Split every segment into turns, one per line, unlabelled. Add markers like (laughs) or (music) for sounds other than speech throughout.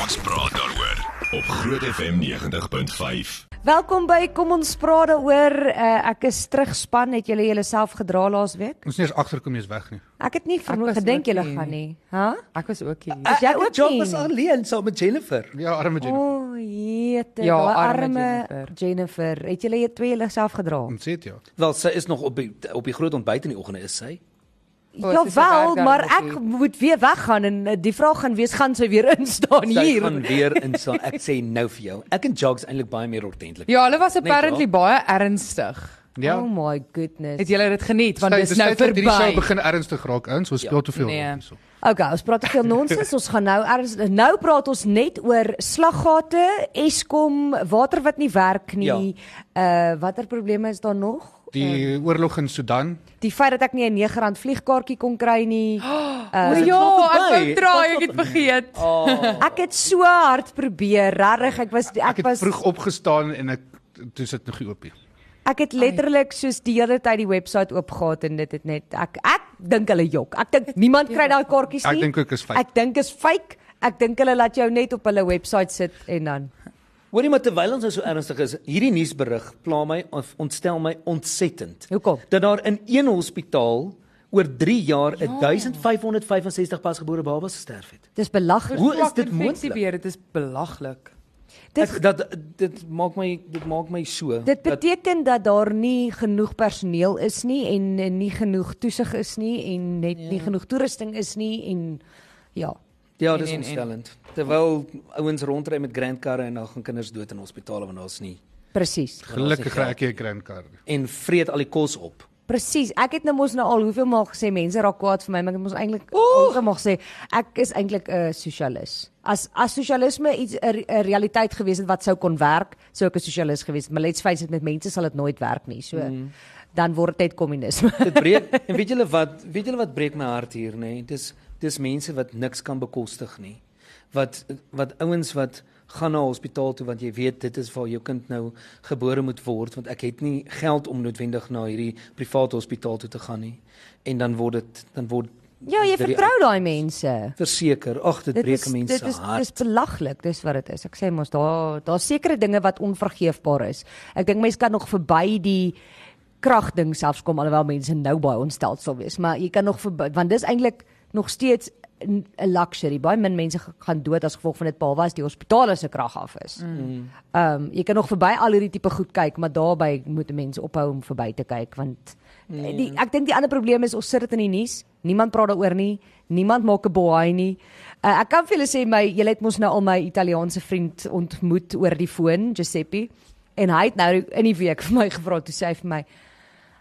Ons praat daaroor op Groot FM 90.5.
Welkom by Kom ons praat daaroor. Uh, ek is terugspan het julle julleself gedra laasweek.
Ons nie eens agterkom jy's weg nie.
Ek het nie
Ek
vermoed
was
gedink
ook
julle
nie.
gaan nie. Hæ?
Ek was ook hier.
Is jy
Ek en
ook
Job
nie?
was alleen saam met Jennifer.
Ja, arme
O,
Jennifer.
oh, jete, ja,
Ja, arme
arme Jennifer.
Jennifer.
Jennifer. Het julle jy twee julleself gedra?
Ons sê dit ja.
Wel sy is nog op die, op die groot ontbyt in die oggende is sy.
O,
ja
sy is
wel,
op werk
maar
dan,
ek
Boetie.
moet weer weggaan en uh, die vraag gaan wees gaan sy weer (laughs) instaan
Sy
hier.
gaan weer instaan. Ek sê nou vir jou. Ek en Jogs eintlik baie meer ordentlik.
Ja, hulle was
Net waar.
apparently baie ernstig.
Ja.
Oh my goodness.
Het julle dit geniet want
Sy-
dis
sy-
nou
sy- Hierdie sou
verby.
begin ernstig raak ins. Ons speel te veel.
Nee.
rol hierso.
Okay, ons praat te veel nonsens. Ons gaan nou erns nou praat ons net oor slaggate, Eskom, water wat nie werk nie. Ja. Uh watter probleme is daar nog?
Die oorlog in Sudan.
Die feit dat ek nie 'n R9 vliegkaartjie kon kry nie. (gasps)
O
Uh,
ja,
al
ek wou
verby?
draai, ek het vergeet.
ek het so hard probeer, regtig. Ek was ek
Ek het
was
vroeg opgestaan en ek toe sit nog nie oop nie.
ek het letterlik soos die hele tyd die webwerf oopgehaat en dit het net ek ek dink hulle jok. Ek dink niemand kry daai kaartjies nie.
Ek dink ook is fyn.
Ek dink is fake. Ek dink hulle laat jou net op hulle webwerf sit en dan
Hoorie maar terwyl ons nou so ernstig is, hierdie nuusberig pla my of ontstel my ontsettend.
Hoekom?
Dat daar in een hospitaal oor 3 jaar
Ja.
1565 pasgebore babas gesterf het.
dis belaglik.
Hoe is
Swak
dit
infeksie
moontlik?
weer, Dit is belaglik.
Dis
Ek, dat dit maak my dit maak my so.
Dit
dat-
beteken dat daar nie genoeg personeel is nie en, en nie genoeg toesig is nie en net ja. nie genoeg toerusting is nie en ja.
ja, dis
en- en-
ontstellend. Terwyl ouens rondry met grand karre en dan gaan kinders dood in hospitale want daar's nie
Presies.
Gelukkig kry ek hier 'n grand card.
en vreet al die kos op.
Presies. Ek het nou mos nou al hoeveel maal gesê mense raak kwaad vir my, maar ek het mos eintlik algemag sê ek is eintlik 'n sosialis. As as sosialisme iets 'n re- 'n realiteit gewees het wat sou kon werk, sou ek 'n sosialis gewees het, maar let's face it, met mense sal dit nooit werk nie. So mm. dan word dit net kommunisme.
Dit
(laughs)
breek en weet julle wat, weet julle wat breek my hart hier nê? Nee? Dis dis mense wat niks kan bekostig nie. Wat wat ouens wat gaan na hospitaal toe want jy weet dit is waar jou kind nou gebore moet word want ek het nie geld om noodwendig na hierdie privaat hospitaal toe te gaan nie. En dan word dit dan word
Ja, jy
dit die-
vertrou daai mense.
verseker. Ag, dit, dit breek 'n mens
dit
se
is
hart.
dis belaglik, dis wat dit is. Ek sê mos daar daar's sekere dinge wat onvergeefbaar is. Ek dink mense kan nog verby die krag ding selfs kom alhoewel mense nou baie ontstel sal wees, maar jy kan nog verby want dis eintlik nog steeds 'n 'n luxury. Baie min mense g- gaan dood as gevolg van dit behalwe as die hospitale se krag af is. Ehm mm. um, jy kan nog verby al hierdie tipe goed kyk, maar daarby moet mense ophou om verby te kyk want nee. die ek dink die ander probleem is ons sit dit in die nuus. Niemand praat daaroor nie. Niemand maak 'n boei nie. Uh, ek kan vir julle sê my julle het mos nou al my Italiaanse vriend ontmoet oor die foon, Giuseppe, en hy het nou in die week (laughs) vir my gevra toe sê hy vir my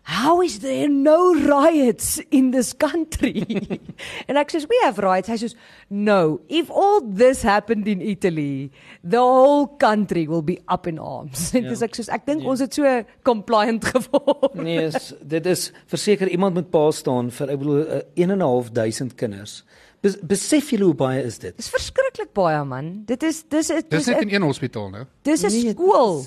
How is there no riots in this country? (laughs) and ek says we have riots. Hy says no. If all this happened in Italy, the whole country will be up in arms. (laughs) En dis ek soos ek dink ons het so compliant (laughs) geword.
Nee, is, dit is verseker iemand moet pa staan vir ek bedoel eh, 1.500 kinders. Bes, besef julle hoe baie is dit?
Dis verskriklik baie man. Dit is dis is
Dis
dis
net in
is
een hospitaal nou.
dis 'n
Nee, dit
skool.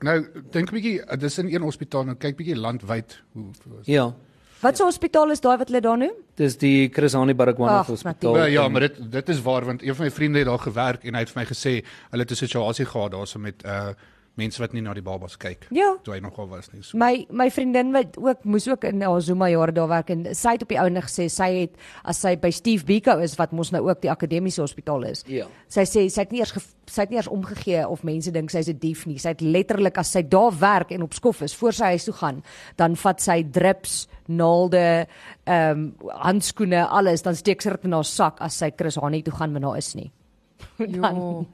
Nou dink 'n bietjie, dis in een hospitaal nou kyk bietjie landwyd hoe hoe is dit?
Ja.
Wat so hospitaal is daai wat hulle daar noem?
Dis die Krisani Baragwanath
Ag,
Hospitaal.
Maar ja, maar dit dit is waar want een van my vriende het daar gewerk en hy het vir my gesê hulle het 'n situasie gehad daarso met uh mense wat nie na die babas kyk
Ja.
toe hy nog daar was nie. So
My my vriendin wat ook moes ook in haar Zuma jare daar werk en sy het op die ouene gesê sy het as sy by Steve Biko is wat mos nou ook die akademiese hospitaal is.
Ja.
Sy sê sy het nie eers gev- sy het nie eers omgegee of mense dink sy's 'n dief nie. Sy het letterlik as sy daar werk en op skof is voor sy huis toe gaan, dan vat sy drips, naalde, ehm um, handskoene, alles, dan steek sy dit in haar sak as sy Chris Hani toe gaan, maar daar is nie.
Ja.
Om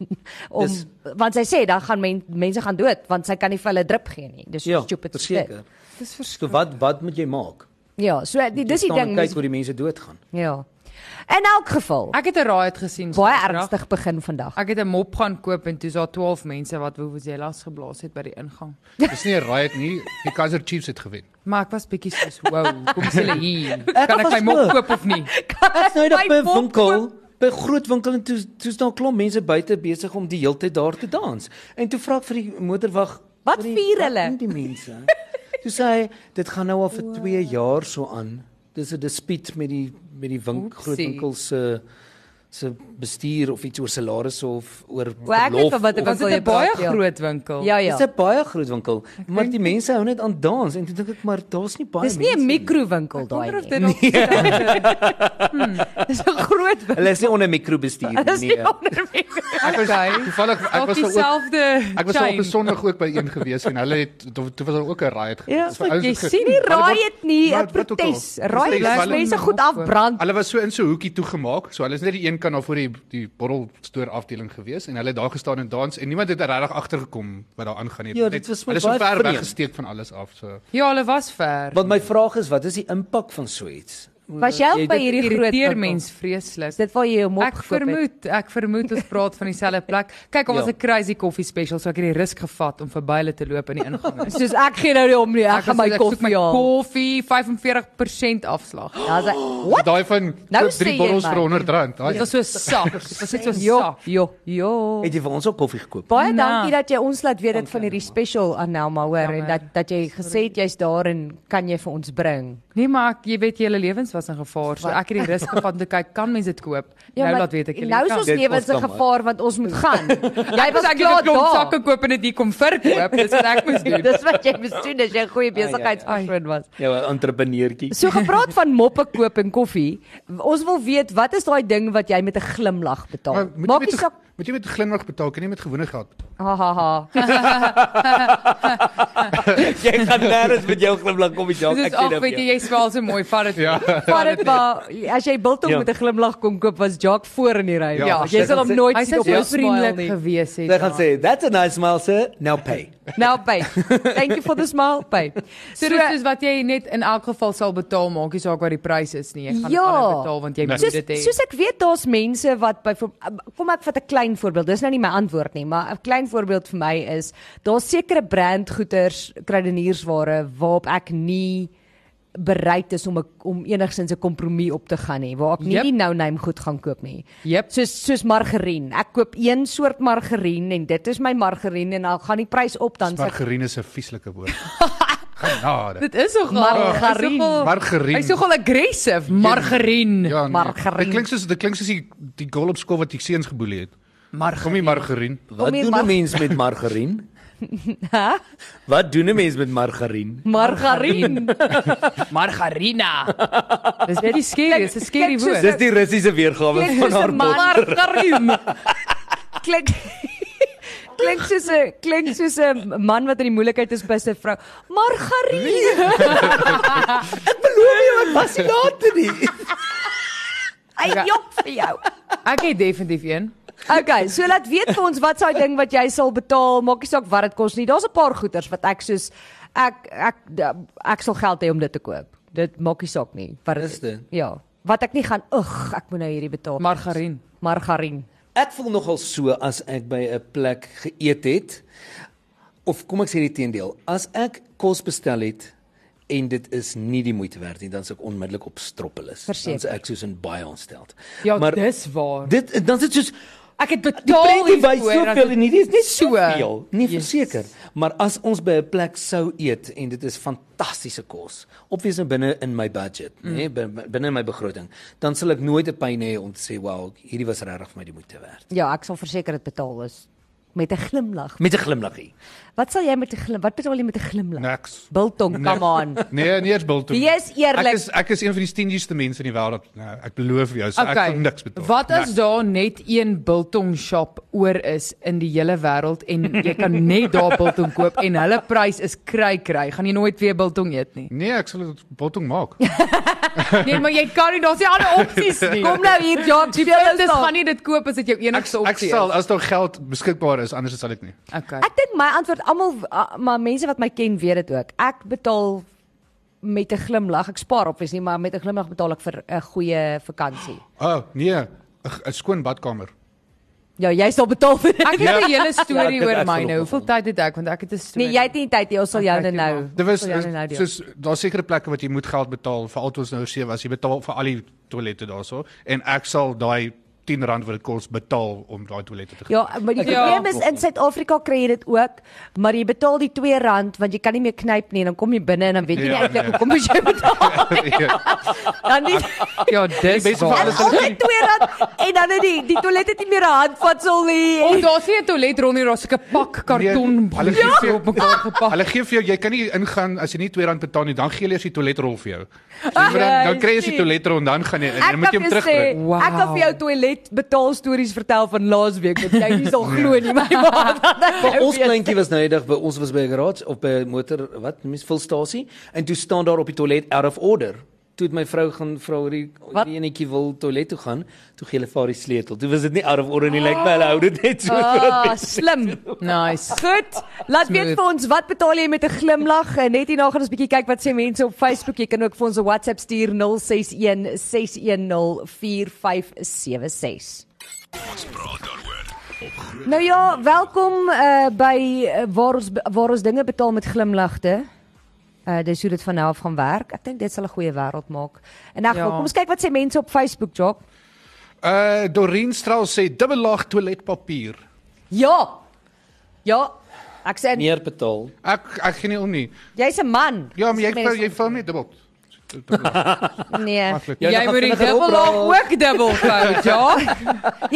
Dis,
Dis-
want sy sê dan gaan men, mense gaan dood want sy kan nie vir hulle drip gee nie. Dis
Ja,
stupid. as dit.
verseker.
Dis
So
verskrik.
wat wat moet jy maak?
Ja, so die, dis die
Staan en
ding.
Kyk
Mens,
hoe die mense
(laughs)
doodgaan.
ja. In elk geval,
Ek het 'n raad gesien.
baie
Sondag.
ernstig begin vandag.
Ja. Ek het 'n mop gaan koop en toe is daar 12 mense wat vuvuzelas geblaas het by die ingang.
dis nie 'n riot nie. Die Kaizer Chiefs het gewen.
Maar ek was bietjie soos, "Wow, kom is hulle hier? Kan ek
was
my mop
ook.
koop of nie?"
Ek nou
my
net by 'n
pop
winkel, by 'n groot winkel en toe toe staan 'n klomp mense buite besig om die heeltyd daar te dans. En toe vra ek vir die motorwag,
Wat
"Hoorie,
vier
wat
hulle?"
doen Die mense. Toe sê hy, dit gaan nou al vir 2 jaar so aan. Dis 'n dispuut met die met die wink
Oepsie.
groot winkel se se bestuur of iets oor salarisse of oor
Wel, ek weet
verlof
van wat ek
of-
Was dit
wil
'n
jy
baie
praat, ja.
groot winkel?
Ja
Dit
ja.
is 'n baie groot winkel, maar
dink
die
nie.
mense hou net aan dans en toe dink ek maar daar's nie baie
Dis nie 'n
mense
mikrowinkel daai
Wonder of
nie.
dit nog hmm.
Dis 'n groot "Oh, winkel. (laughs)
Hulle is nie onder mikrobestuur
Dis
nie.
nie
ja.
onder meer.
Ek was
Okay.
toevallig ek
Dalk
was daar ook
dieselfde.
Ek was daar op 'n
chain.
Sondag ook by een gewees en hulle het toe toe was daar ook 'n riot gewees.
Ja,
Dis vir
wat
ouens
jy
wat ge-
sien.
Nie
Maar
raai
dit
dit nie,
maar
'n
dit word ook
protes.
al.
Raai
Dis
dit is
hulle-
mense goed afbrand.
Hulle was so in so 'n hoekie toegemaak, so hulle is net die een kant daar voor die die bottelstoor afdeling gewees en hulle het daar gestaan en dans en niemand het er regtig agtergekom wat daar aangaan nie.
Ja,
Net-
dit was my
hulle is so
baie
ver
vreemd.
weggesteek van alles af so.
Ja, hulle was ver.
Want my vraag is wat is die impak van so iets?
Was jy ook by
dit-
hierdie groot
irriteer
winkel?
mens vreeslik.
Is dit waar jy hom op
Ek vermoed, ek vermoed ons praat van dieselfde
(laughs)
plek. Kyk, ons
Ja.
was 'n crazy coffee special, so ek het die risk gevat om verby hulle te loop in die
(laughs)
ingang.
Soos ek gee nou nie om nie. Ek gaan my
was- soek
koffie haal.
koffie 45% afslag.
Ja, sê
So
what?
Daai van
Nou
koop
sê
drie
jy
bottels
my.
vir 100 rand.
Dit
Daai
was so 'n sak. Dit was net so 'n
Jo,
sak.
jo, jo.
Het jy vir ons ook koffie gekoop?
Baie
Na.
dankie dat jy ons laat weet dit van hierdie special Anelma hoor en
Jammer.
dat dat jy gesê het jy's daar en kan jy vir ons bring.
Nee, maar ek, jy weet julle lewens was in gevaar, so ek het die risk gevat om te kyk kan mense dit koop. nou laat weet ek
nou is ons
Dit
lewens
was
in
dan,
gevaar want ons moet gaan. jy was
ek
klaar
het 'n klomp
daar. (laughs)
sakke koop en dit hier kom verkoop. Dis wat ek moes doen.
Dis wat jy moes doen as jy 'n goeie
ja, ja.
besigheidspersoon was.
Jou entrepreneurtjie.
So gepraat van moppe koop en koffie, ons wil weet wat is daai ding wat jy met 'n glimlag betaal?
moet jy
Maak
met
nie
die-
saak.
moet jy met glimlag betaal, kan nie met gewone geld.
Ha ha ha.
(laughs)
(laughs)
jy gaan nêrens met jou glimlag kom
(laughs)
met jou.
Dis ook weet jy jy swaal so mooi vat dit.
(laughs) Ja.
Maar dit maar as jy biltong
Ja.
met 'n glimlag kom koop was Jock voor in die ry.
Ja,
jy sal hom nooit
Hy
sien
sou
op
so
'n smile
vriendelik
nie.
gewees het.
Hulle gaan sê, that's a nice smile sir. Now pay.
Now pay. Thank you for the smile pay.
So dis soos wat jy net in elk geval sal betaal, maak nie saak wat die prys is nie. Jy gaan
Ja.
ander betaal want
Nee.
jy moet
soos,
nou, dit hê.
soos ek weet daar's mense wat byvoorbeeld kom ek vat 'n klein voorbeeld. Dis nou nie my antwoord nie, maar 'n klein voorbeeld vir my is daar's sekere brandgoeders, kruideniersware waarop ek nie bereid is om 'n om enigsins 'n kompromie op te gaan nie, waar ek nie
Jep.
die no-name goed gaan koop nie.
Jep.
Soos soos margarien. Ek koop een soort margarien en dit is my margarien en dan gaan die prys op dan sê
Margarine is 'n vieslike woord. Genade.
Dit is so gaal.
Margarien.
Margarien.
Hy's so gaal
Ja.
aggressive, margarien.
Ja, nee.
Margarine.
Dit klink soos dit klink soos die die goal op skool wat die seuns geboelie het. Kom
Margarien.
nie margarine.
Wat
hier
doen 'n
mar-
mens met margarien?
(laughs)
Wat doen 'n mens met margarien?
(laughs)
margarien.
Margarina. (laughs) Dis net skerry, dis 'n skerry
klink soos
woord.
Dis die Russiese weergawe
Klink
van
soos
haar
'n
bot.
margarien. klink (laughs) klink soos 'n klink soos 'n man wat in die moeilikheid is by sy vrou.
Nee.
Margarien.
Beloof jy wat was die later nie?
Ai jop vir jou.
(laughs) Ek het definitief een.
Okay, so laat weet vir ons wat sou ding wat jy sal betaal, maak nie saak wat dit kos nie. Daar's 'n paar goeders wat ek soos ek ek ek sal geld hê om dit te koop. Dit maak nie saak nie wat dit
Is dit?
Ja, wat ek nie gaan ugh, ek moet nou hierdie betaal.
Margarien.
Margarien.
Ek voel nogal so as ek by 'n plek geëet het. Of kom ek sê die teendeel, as ek kos bestel het en dit is nie die moeite werd nie, dan sou ek onmiddellik op stroppelis. Dan
Verseker.
sou ek soos in baie ontsteld.
Ja,
maar
dis waar.
dit dan sit soos
Ek het
Die
betaal
prentjie wys
hiervoor,
soveel en hierdie is net
so.
soveel. Nee,
Yes.
verseker. Maar as ons by 'n plek sou eet en dit is fantastiese kos, obviously binne in my budget, mm. nê, bin- binne my begroting, dan sal ek nooit 'n pyn hê om te sê, "Wow, hierdie was regtig vir my die moeite werd."
Ja, ek sal verseker dit betaal is met 'n glimlag.
Met 'n glimlaggie.
Wat sal jy met 'n glim? Wat betaal jy met 'n glimlag?
Nee.
Niks.
Biltong, come on.
Nee, nee, eers bil toe.
Wees eerlik.
Ek is ek is een van die stingieste mense in die wêreld. Nou, ek beloof jou, so ek gaan niks betaal.
Wat as
Niks.
daar net een biltong shop oor is in die hele wêreld en jy kan net daar biltong koop en hulle prys is kry kry. Gaan jy nooit weer biltong
(laughs)
eet nie.
Nee, ek sal dit botting maak.
Nee, maar jy kan nie daar's nie ander opsies nie.
Kom nou hier, Jock,
Die punt is gaan nie dit koop as dit jou
Ek
enigste
ek
opsie
sal
is.
as daar geld beskikbaar is, anders sal ek nie.
Okay.
Ek dink my antwoord almal ah, maar mense wat my ken weet dit ook. Ek betaal met 'n glimlag. Ek spaar op, is nie, maar met 'n glimlag betaal ek vir 'n goeie vakansie.
O, oh, nee, 'n- 'n skoon badkamer.
Ja, jy sal betaal vir dit.
Ek het 'n hele storie
Ja, ek-
oor
ek
my
sal
nou. Hoeveel tyd het ek want ek het 'n storie.
Nee, jy het nie tyd nie. Ons sal jou
Ek
nou
kyk nie
nou.
Dit was
ons sal jou nou nou deel.
soos daar sekere plekke wat jy moet geld betaal, veral toe ons nou sewe was, jy betaal vir al die toilette daarso en ek sal daai 10 rand wat dit kos betaal om daai toilette te gebruik.
Ja, maar die
Ja.
probleem is in Suid-Afrika kry jy dit ook, maar jy betaal die R2 want jy kan nie meer knyp nie en dan kom jy binne en dan weet jy nie
Ja,
eintlik
nee.
hoekom moet jy betaal. Dan nie
Ja, dis
beste van
waar.
(laughs)
alles-
altyd R2 en dan het die die toilet het nie meer 'n handvatsel
Of
nie.
daar's nie 'n toilet rond nie, daar's sulke pak karton
Nee, hulle
balletjies
gee vir-
op mekaar gepak.
Hulle gee vir jou, jy kan nie ingaan as jy nie R2 betaal nie, dan gee hulle eers die toiletrol vir jou. So, jy moet dan dan kry jy eers die
Juisie.
toiletrol en dan gaan jy in en
Ek
dan moet
kan
jy hom
vir jou sê,
terugbring.
Wow.
ek kan vir jou toilet betaal stories vertel van laasweek wat jy nie sal glo nie, (laughs) my ma.
Maar ons kleintjie was nou eendag by ons was by 'n garage op 'n motor wat mens vulstasie en toe staan daar op die toilet out of order. Toe het my vrou gaan vra oor die
Wat?
die enetjie wil toilet toe gaan, toe gee hulle vir haar die sleutel. Toe was dit nie out of order nie, lyk like, my hulle hou dit net so.
Oh,
Ah, slim.
Nice.
Goed, laat weet
Smooth.
vir ons wat betaal jy met 'n glimlag en net hierna gaan ons bietjie kyk wat sê mense op Facebook. Jy kan ook vir ons 'n WhatsApp stuur 061 610 4576.
Ons praat daaroor op Groot
Nou ja, welkom uh, by uh, waar ons waar ons dinge betaal met glimlagte. Uh dis hoe dit van nou af gaan werk. Ek dink dit sal 'n goeie wêreld maak. En dan ja.
Ja.
kom ons kyk wat sê mense op Facebook, Jock.
Uh Doreen Straal sê dubbellaag toiletpapier.
Ja. Ja. Ek sê
Nee.
Meer betaal.
Ek ek gee nie om nie.
jy's 'n man.
Ja, maar jy
Dis
jy val nie dubbel.
nee.
Maklik.
Ja, dan
Jy
gaan
moet die
vinniger
dubbel laag
opraal.
ook dubbel vou, ja.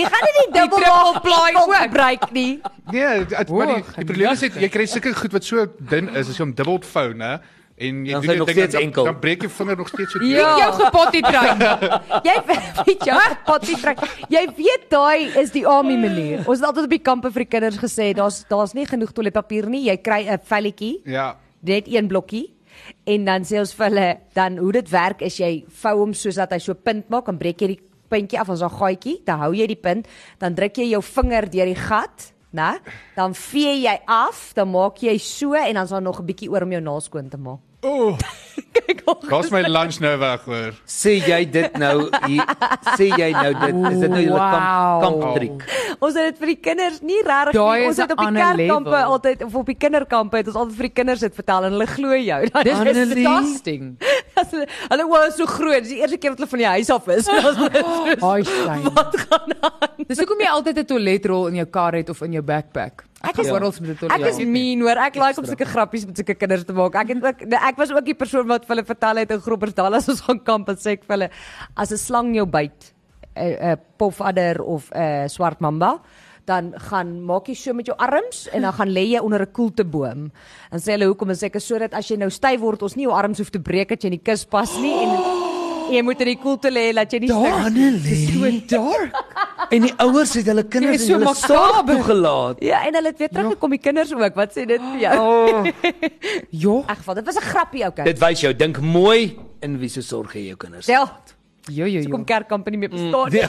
Jy gaan nie die dubbel
triple ply
plaai
ook.
gebruik nie.
Nee, dit- maar die,
Hoog,
die probleem is dit jy kry sulke goed wat so dun is as jy hom dubbel vou, né? En jy
Dan
doen
sy
die
nog
ding en
steeds
dan-
enkel.
Dan breek jou vinger nog steeds so.
Ja. Jou gepotty
(laughs)
trein.
Jy weet (laughs) jy potty trek. Jy weet daai is die army manier. Ons het altyd op die kampe vir die kinders gesê daar's daar's nie genoeg toiletpapier nie. Jy kry 'n velletjie,
Ja.
net een blokkie. En dan sê ons vir hulle dan hoe dit werk is jy vou hom soos dat hy so 'n punt maak en breek jy die puntjie af as 'n gaatjie, dan hou jy die punt, dan druk jy jou vinger deur die gat, né? Dan vee jy af, dan maak jy so en dan is daar nog 'n bietjie oor om jou naels skoon te maak.
Ooh,
Kyk hoe
daar's my lunch nou weg hoor.
Sê jy dit nou hier sê jy nou dit is dit nou julle
Wow.
kamp kamp triek.
Ons het dit vir die kinders nie regtig
Daai
nie.
is
Ons het op
een
die
ander
kerkkampe
level.
altyd of op die kinderkampe het ons altyd vir die kinders dit vertel en hulle glo jou. (laughs) Dan
Dis
is dit-
disgusting.
as Hulle hulle was so groot. Dis die eerste keer wat hulle van die huis af
(laughs)
is. En ons is
Ai, shame.
(laughs) Wat gaan aan?
Dis hoekom jy altyd 'n toiletrol in jou kar het of in jou backpack.
Ek
Ek
is-
is oral met ja. 'n
Ja. Ek is
toiletrol.
mean hoor. Ek like om sulke grappies met sulke kinders te maak. Ek het ook nee, ek was ook die persoon wat vir hulle vertel het in Groepersdal (laughs) as ons gaan kamp en sê ek vir hulle as 'n slang jou byt, 'n uh, uh, pofadder of 'n uh, swart mamba dan gaan maak jy so met jou arms en dan gaan lê jy onder 'n koelteboom. En sê hulle hoekom is ek is sodat as jy nou styf word, ons nie jou arms hoef te breek dat jy in die kus pas nie en en jy moet in die koelte lê dat jy nie stik.
Annelie.
dark.
En die ouers het hulle kinders
Jy is so
in hulle staat
makaber.
toegelaat.
Ja, en hulle het weer teruggekom die kinders ook. Wat sê dit vir jou?
Ja.
Ag, wat, dit was 'n grappie, okay.
Dit wys jou dink mooi in wie se sorg jy jou kinders.
Stel,
Ja, ja, ja.
kom kerkkamp nie
Mm.
meer bestaan (laughs) nie.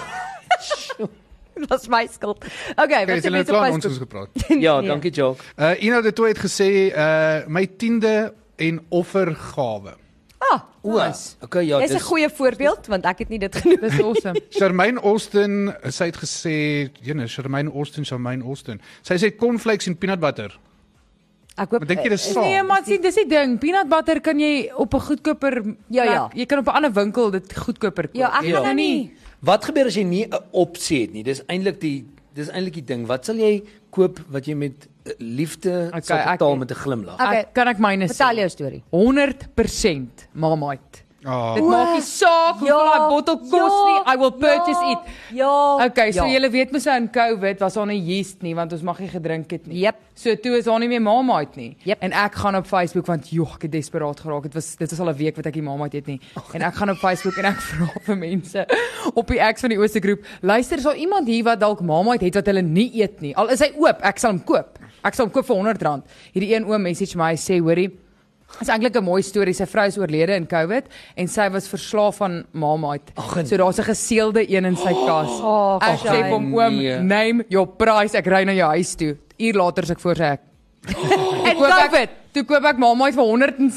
Dit was my skuld. Okay,
Kyk,
wat
is
sê
hulle nou
mense op
klaar met ons ons
Facebook?
gepraat.
Ja,
Nee.
dankie Jock.
Uh Ina de Tooy het gesê uh my tiende en offergawe.
Ah,
O, okay, ja,
dis 'n goeie voorbeeld want ek het nie dit
(laughs)
genoem.
Dis awesome.
(laughs)
Charmaine Austin, sy het gesê, jene, Charmaine Austin, Charmaine Austin. Sy sê cornflakes en peanut butter.
Ek hoop
Maar dink jy dis saam?
Nee, maar sien, dis die ding. Peanut butter kan jy op 'n goedkoper
Ja, ja.
plek- Jy kan op 'n ander winkel dit goedkoper koop.
Ja, ek
Ja.
gaan nou nie.
Wat gebeur as jy nie 'n opsie het nie? Dis eintlik die dis eintlik die ding. Wat sal jy koop wat jy met eh, liefde
Okay,
sal betaal
ek-
met 'n glimlag?
ek-
Ek- kan ek myne sê?
Vertel jou storie.
100% marmite.
Ah.
Dit maak nie saak hoeveel daai bottel kos nie. I will purchase
ja,
it.
Ja.
Okay, so
ja.
julle weet mos nou in COVID was daar nie yeast nie want ons mag nie gedrink het nie.
Jep.
So toe is daar nie meer Marmite nie.
Jep.
En ek gaan op Facebook want joh, ek het desperaat geraak. Dit was dit was al 'n week wat ek nie Marmite eet nie. En ek gaan op Facebook en ek (laughs) vra vir mense op die X van die Ooste groep, luister, is daar iemand hier wat dalk Marmite het wat hulle nie eet nie? Al is hy oop, ek sal hom koop. Ek sal hom koop vir R100. Hierdie een oom message my hy sê, hoorie, Dit is eintlik 'n mooi storie. Sy vrou is oorlede in COVID en sy was verslaaf van Marmite.
Ag, en-
so daar's 'n geseelde een
(gasps)
in sy kas.
Oh,
ek
ag,
sê vir hom oom,
nee.
name your price. Ek ry na jou huis toe. Uur later is ek voor sy hek. en koop ek, toe koop ek Marmite vir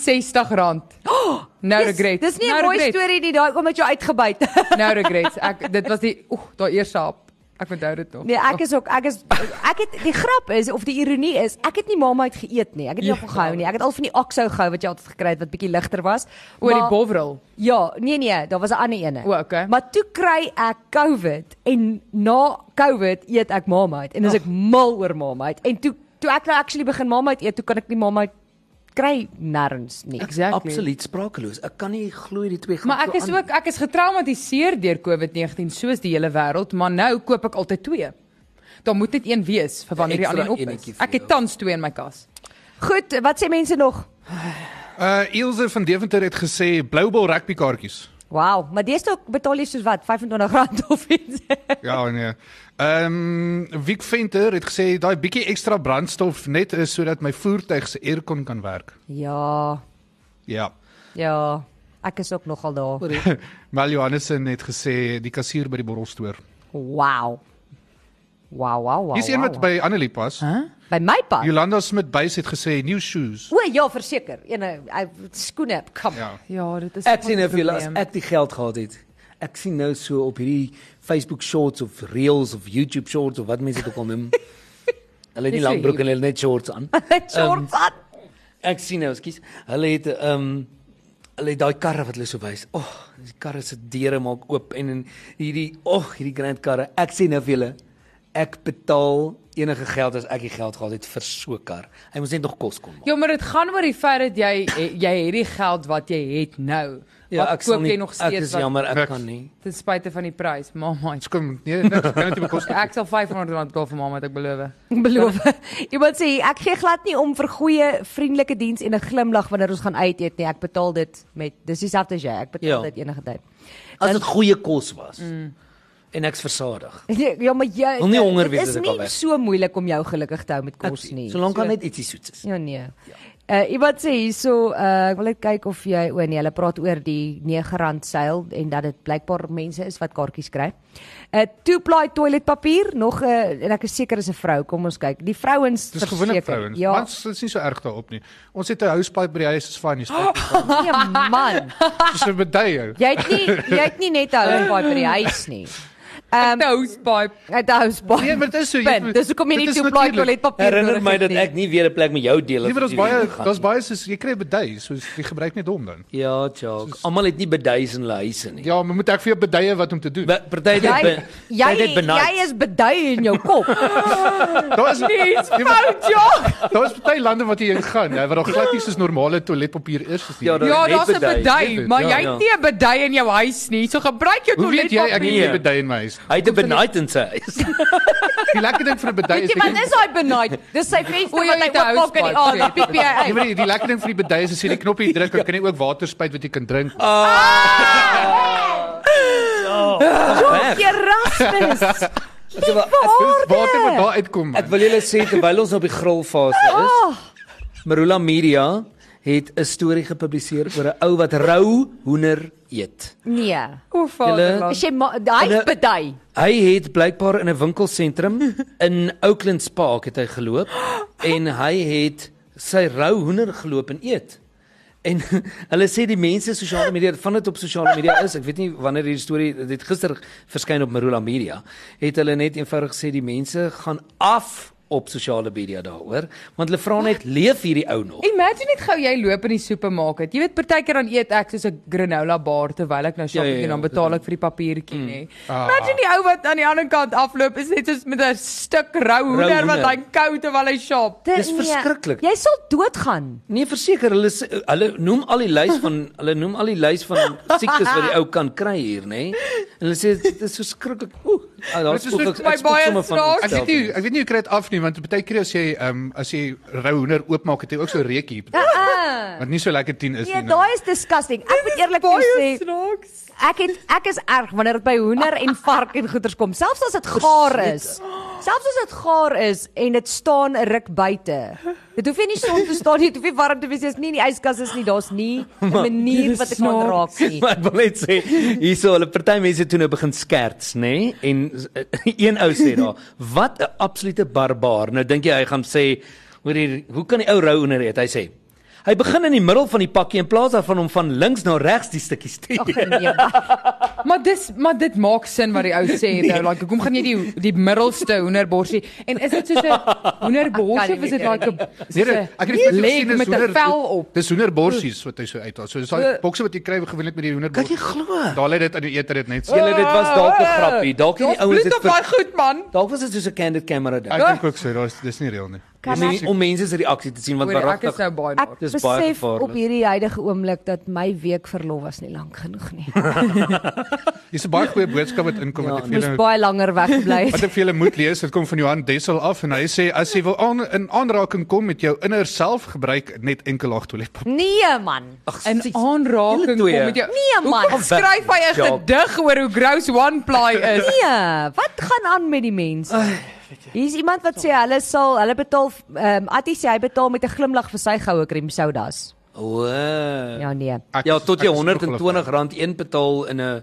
R160. No
Dis-
regret.
Dis nie
no
'n mooi
regret.
storie nie, daai oom het jou uitgebyt.
No regrets. Ek dit was die oeg, daai eerste hap. Ek onthou dit nog.
(laughs) Nee, ek is ook ek is ek het die grap is of die ironie is, ek het nie Marmite geëet nie. Ek het nie
Ja.
daarvan gehou nie. Ek het al van die oxou gehou wat jy altyd gekry het wat bietjie ligter was.
oor die
Maar-
bovrol.
Ja, nee nee, daar was 'n ander ene.
O, okay.
Maar toe kry ek COVID en na COVID eet ek Marmite en dis ek mal oor Marmite. En toe toe ek nou actually begin Marmite eet, toe kan ek nie Marmite kry nêrens nie.
Exactly.
Absoluut sprakeloos. Ek kan nie glo die twee gaan
Maar ek
so
is
aan-
ook ek is getraumatiseer deur COVID-19 soos die hele wêreld, maar nou koop ek altyd twee. Daar moet net een wees vir wanneer die
Extra
ander op is.
enetjie vir
Ek het
jou.
tans twee in my kas.
Goed, wat sê mense nog?
Uh Ilse van Deventer het gesê Bloubol rugby kaartjies.
Wow, maar dis ook betaal jy soos wat R25 of iets.
(laughs)
(laughs)
Ja nee. Ehm um, Wiek Venter het gesê daai bietjie ekstra brandstof net is sodat my voertuig se aircon kan werk.
ja,
Ja.
ja, ek is ook nogal daar.
Mal Johannesen het gesê die kassier by die borrelstoer.
Wow. Wow, wow, wow.
Hier's een
wow,
wat
wow.
by Annelie pas. Huh?
by my pa.
Jolanda Smit Buys het gesê new shoes.
O ja, verseker. Ene I- skoene, kom.
Ja.
Ja, dit is
Ek sien nou vir julle as ek die geld gehad het. Ek sien nou so op hierdie Facebook shorts of reels of YouTube shorts of wat mense dit ook al
(laughs)
noem. Hulle het
Dis
nie
so
lang broek
hip.
en hulle het net shorts aan.
Ja.
(laughs) Shorts aan.
Ek sien nou, skus. Hulle het ehm um, hulle het daai karre wat hulle so wys. O, oh, die karre se deure maak oop en en hierdie og, oh, hierdie grand karre. Ek sien nou vir julle. Ek betaal enige geld as ek die geld gehad het vir so 'n kar. Hy moes net nog kos kom. maak.
Ja, maar dit gaan oor die feit dat jy eh, jy het die geld wat jy het nou. Wat
sal
koop
nie-
jy nog
Ja, Ek
steeds
is
wat-
jammer, ek
Niks.
kan nie.
ten spyte van die prys, mamma.
Ons kom nee, niks kan dit bekos.
Ek sal R500 betaal vir mamma, het ek beloof.
(laughs) Beloof. Iemand sê ek gee glad nie om vir goeie vriendelike diens en 'n glimlag wanneer ons gaan uit eet nie. Ek betaal dit met dis dieselfde as jy. Ek betaal ja.
Ja.
dit enige tyd.
As dit goeie kos was. Mm. En ek's versadig.
(laughs) Ja, maar jy
Wil nie honger
dit Is
wees as ek al
nie
weg.
so moeilik om jou gelukkig te hou met kos nie.
Solank kan net ietsie soets is.
Ja nee. Uh iemand sê hierso uh ek wil net kyk of jy o nee, hulle praat oor die R9 seil en dat dit blykbaar mense is wat kaartjies kry. Uh two ply toiletpapier nog 'n uh, en ek is seker is 'n vrou. Kom ons kyk. Die vrouens
Dis gewone
verseker.
vrouens. Ja.
Ja.
Mans is nie so erg daarop nie. Ons het 'n housepipe by die huis, is fyn, dis
(gasps)
fyn.
Nee man,
Dis 'n bedaier.
jy het nie jy het nie net 'n housepipe by die huis nie. Ehm um,
Nou, Toastpipe.
'n housepipe.
Nou. Nee, maar dit is so, jy-
Punt. Dis hoekom jy nie
dit is
two ply
natuurlijk.
toiletpapier
Herinner
nodig
my
het
dat
nie.
ek nie weer 'n plek met jou deel
Jy weet daar's
die
baie
week gaan
daar's
nie.
baie soos jy kry bedai, so jy gebruik net hom dan.
Ja, Jacques. Almal het nie beduis in hulle huise nie.
Ja, maar moet ek vir jou beduie wat om te doen?
Be- Party het
Jy
be-
jy
party het benauwd.
jy is bedui in jou
(laughs)
kop.
Daar is
Dis
Jy weet,
fout, ja.
daar is baie lande wat jy gaan, hè, waar daar glad nie soos normale toiletpapier is as nie.
Ja, daar-
Ja,
Net
daar's 'n
bedui.
bedui, maar
Ja,
jy
ja.
het nie 'n bedui in jou huis nie. So gebruik jou
Hoe weet jy ek het nie
Nee.
bedui in my huis?
Hy het 'n benauwd in sy huis.
Die lekker ding van 'n bedui
Weet
is
jy wat
jy
is daai benight? Dis sy venster
O, jy
wat hy
het 'n
oopmaak in die
housepipe.
aand.
(laughs)
Piep jy uit.
weet Nee, die, die lekker ding van die bedui is as jy die
(laughs)
knoppie druk, dan kan jy ook water spuit wat jy kan drink.
Erasmus.
Ja, Dis water wat daar uitkom.
Ek
Man.
wil julle sê terwyl ons op die grillfase
Oh.
is, Marula Media het 'n storie gepubliseer oor 'n ou wat rou hoender eet.
Nee.
Hoe
Is jy ma- daai
Hulle-
bedai?
Hy het blykbaar in 'n winkelsentrum in Oakland Spa het hy geloop en hy het sy rou hoender geloop en eet. En (laughs) hulle sê die mense op sosiale media, van dit op sosiale media is, ek weet nie wanneer hierdie storie dit gister verskyn op Marula Media, het hulle net eenvoudig gesê die mense gaan af op sosiale media daaroor, want hulle vra net leef hierdie ou nog.
Imagine net gou jy loop in die supermark. Jy weet partykeer dan eet ek soos 'n granola bar terwyl ek nou shopping
Ja, ja,
doen dan
ja,
betaal ek vir die papiertjie
Mm.
nê.
Ah.
Imagine die ou wat aan die ander kant afloop is net soos met 'n stuk rou hoender wat
hoender.
hy kou terwyl hy shop.
Dit-
Dis
nee.
verskriklik.
Jy sal doodgaan.
Nee, verseker, hulle s- hulle noem al die lys van hulle noem al die lys van siektes wat die ou kan kry hier, nê? Nee? En hulle sê dit is verskriklik. Ooh, ah, daar
Dit is
spook
vir
ek
my
ek spook
baie
sommer van.
snaaks.
Ek weet nie, ek weet nie hoe kry dit af nie, want baie keer as jy ehm um, as jy rou hoender oopmaak, het jy ook so 'n reukie. Wat nie so lekker 10 is
Ja. Nee,
nie. nou.
Ah, daai is disgusting. Ek moet eerlik vir jou
Baie
sê,
snaaks.
ek het ek is erg wanneer dit by hoender en vark en goeters kom, selfs as dit gaar is. Selfs as dit gaar is en dit staan 'n ruk buite. Dit hoef jy nie son te staan nie, dit hoef nie warm te wees nie, as nie in die yskas is nie, daar's nie 'n manier wat dit kan raak nie.
(laughs) Maar ek wil net sê, hierso hulle party mense toe nou begin skerts, nê? Nee? En eh, (laughs) een ou sê daar, "Wat 'n absolute barbaar." Nou dink jy hy gaan sê, "Hoor hier, hoe kan die ou rou onder eet?" Hy sê, Hy begin in die middel van die pakkie in plaas daarvan om van links na regs die stukkies te
Ag nee.
Maar dis maar dit maak sin wat die ou sê
(laughs) Nee.
nou like hoekom gaan jy die die middelste hoenderborsie en is dit soos 'n
(laughs)
hoenderborsie of is dit like 'n
Nee, dit- ek het dit net
leg
gesien dis
met 'n
hoender-
vel op.
Dis hoenderborsies wat hy so uithaal. So dis daai bokse wat jy kry gewoonlik met die
Kan jy
hoenderborsies.
glo?
Daar lê dit in die eter dit net so.
Julle dit was dalk 'n grappie. Dalk het die ouens
dit
dit
baie
vir
goed man.
Dalk was dit soos 'n candid camera ding.
Ek dink ook so, daar's dis nie reël nie.
Om, men- om mense se reaksie te sien want
Hoor ek is
waaragtig
nou baie
Ek
daar.
Dis baie
besef
gevaarlik.
op hierdie huidige oomblik dat my week verlof was nie lank genoeg nie.
Dis 'n baie goeie boodskap wat inkom
Ja,
wat ek vir
Moes
julle
baie langer
(laughs)
weggebly
Wat
het.
ek vir julle moet lees, dit kom van Johan Dessel af en hy sê as jy wil aan, in aanraking kom met jou inner self, gebruik net enkel laag toiletpapier.
Nee man.
In
Julle
aanraking kom
twee.
met jou.
Nee man.
Hoekom skryf hy 'n
Ja.
gedig oor hoe gross one ply is?
(laughs)
Nee, wat gaan aan met die mense? Hier is iemand wat sê hulle sal hulle betaal ehm um, Attie sê hy betaal met 'n glimlag vir sy goue krem sodas.
O. Ja,
Ja nee.
Ek
ja,
is-
tot jy
ek is ongelukkig.
R120 een betaal in 'n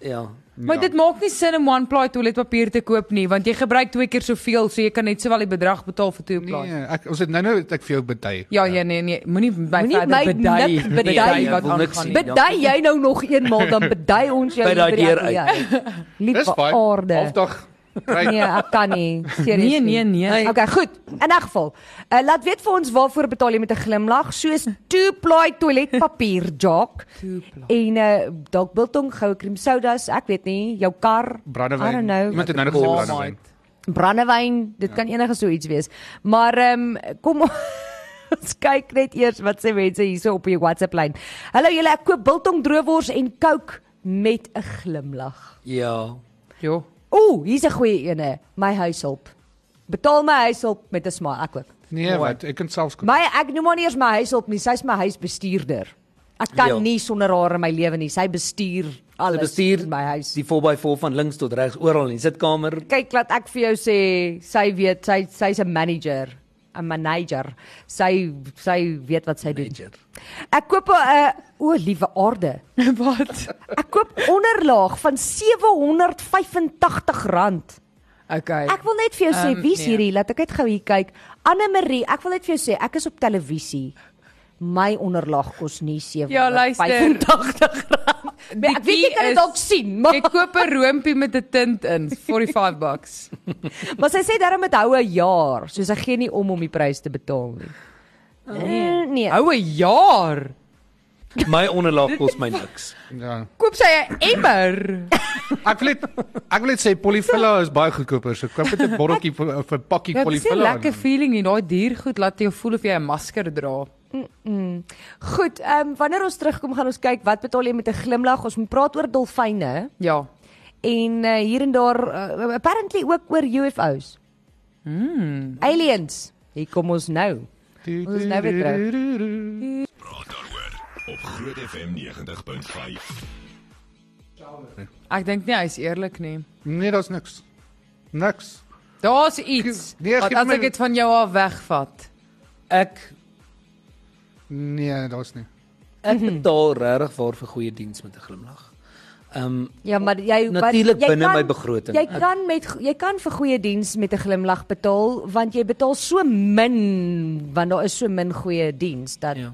ja.
Maar dit maak nie sin om one ply toiletpapier te koop nie, want jy gebruik twee keer soveel, so jy kan net sowel die bedrag betaal vir twee ply.
Nee, ek ons het nou-nou het ek vir jou bedui.
Ja, ja, nee, nee, moenie my
Moenie
verder
my
bedui,
nik bedui,
ek
wat
wil niks
aangaan
sien. ja.
nie.
Bedui jy nou nog eenmaal dan bedui ons jou
By daai
hier by
deur
die ateljee.
Dis
Liewe
fyn.
aarde.
Halfdag. Right.
Nee, ek kan nie. Seriously.
Nee, nee, nee.
Okay, goed. In 'n geval, uh, laat weet vir ons waarvoor betaal jy met 'n glimlag, soos two-ply toiletpapier, Jock. En uh, dalk biltong, goue krem sodas, ek weet nie, jou kar, I don't
Brandewyn.
know.
Iemand het nou nog gesê
Oh,
brandewyn.
mate.
brandewyn, dit ja. kan enige so iets wees. Maar ehm um, kom (laughs) ons kyk net eers wat sê mense hierso op die WhatsApp lyn. Hallo julle, ek koop biltong droewors en Coke met 'n glimlag.
Ja.
(laughs) Jo.
Ooh, hier's 'n goeie ene, my huishulp. Betaal my huishulp met 'n smile, ek ook.
Nee, wat ek kan selfs kom.
My ek noem haar nie eers my huishulp nie, sy's my huisbestuurder. Ek kan
Ja.
nie sonder haar in my lewe nie. Sy bestuur
Hulle
alles
bestuur
in my huis.
Die 4x4 van links tot regs oral in die sitkamer.
kyk laat ek vir jou sê, sy weet sy sy's 'n manager, 'n manager. Sy sy weet wat sy doen.
Manager.
Ek koop 'n o, liewe aarde.
Wat?
Ek koop onderlaag van R785.
Okay.
Ek wil net vir jou sê,
Ehm,
wie's
nee.
hierdie? Laat ek net gou hier kyk. Anne Marie, ek wil net vir jou sê, ek is op televisie. My onderlaag kos nie
Ja, luister.
R785. Ja, ek weet jy kan dit dalk sien, maar
Ek koop 'n roompie met 'n tint in, 45 (laughs) bucks.
Maar sy sê daarom dit hou 'n jaar, so sy gee nie om om die prys te betaal nie. Nee, nee.
Oh, Hou 'n jaar.
My onderlaag kos my niks.
Ja.
Koop sy 'n emmer.
Ek wil net ek wil net sê Polyfilla is baie goedkoper. So koop net 'n botteltjie vir- of 'n pakkie
Ja,
Dit is 'n
Polyfilla.
lekker feeling nie, daai duur goed laat jou voel of jy 'n masker dra.
Goed, ehm um, wanneer ons terugkom gaan ons kyk wat betaal jy met 'n glimlag. Ons moet praat oor dolfyne
Ja.
en uh, hier en daar uh, apparently ook oor UFOs.
Hmm.
Mm. Aliens. Hier kom ons nou. Ons is nou weer terug.
Praat daaroor op Groot FM 90.5.
Ek dink nie hy's eerlik nie.
Nee, daar's niks. Niks.
Daar's iets.
Nee,
wat
geef
as
my-
ek dit van jou af wegvat.
Ek
Nee, daar's nie.
ek betaal regtig waar vir goeie diens met 'n glimlag. Ehm um,
Ja, maar jy wat-
Natuurlik
jy
binne
kan-
my begroting.
Jy kan met go- jy kan vir goeie diens met 'n glimlag betaal want jy betaal so min want daar is so min goeie diens dat
Ja.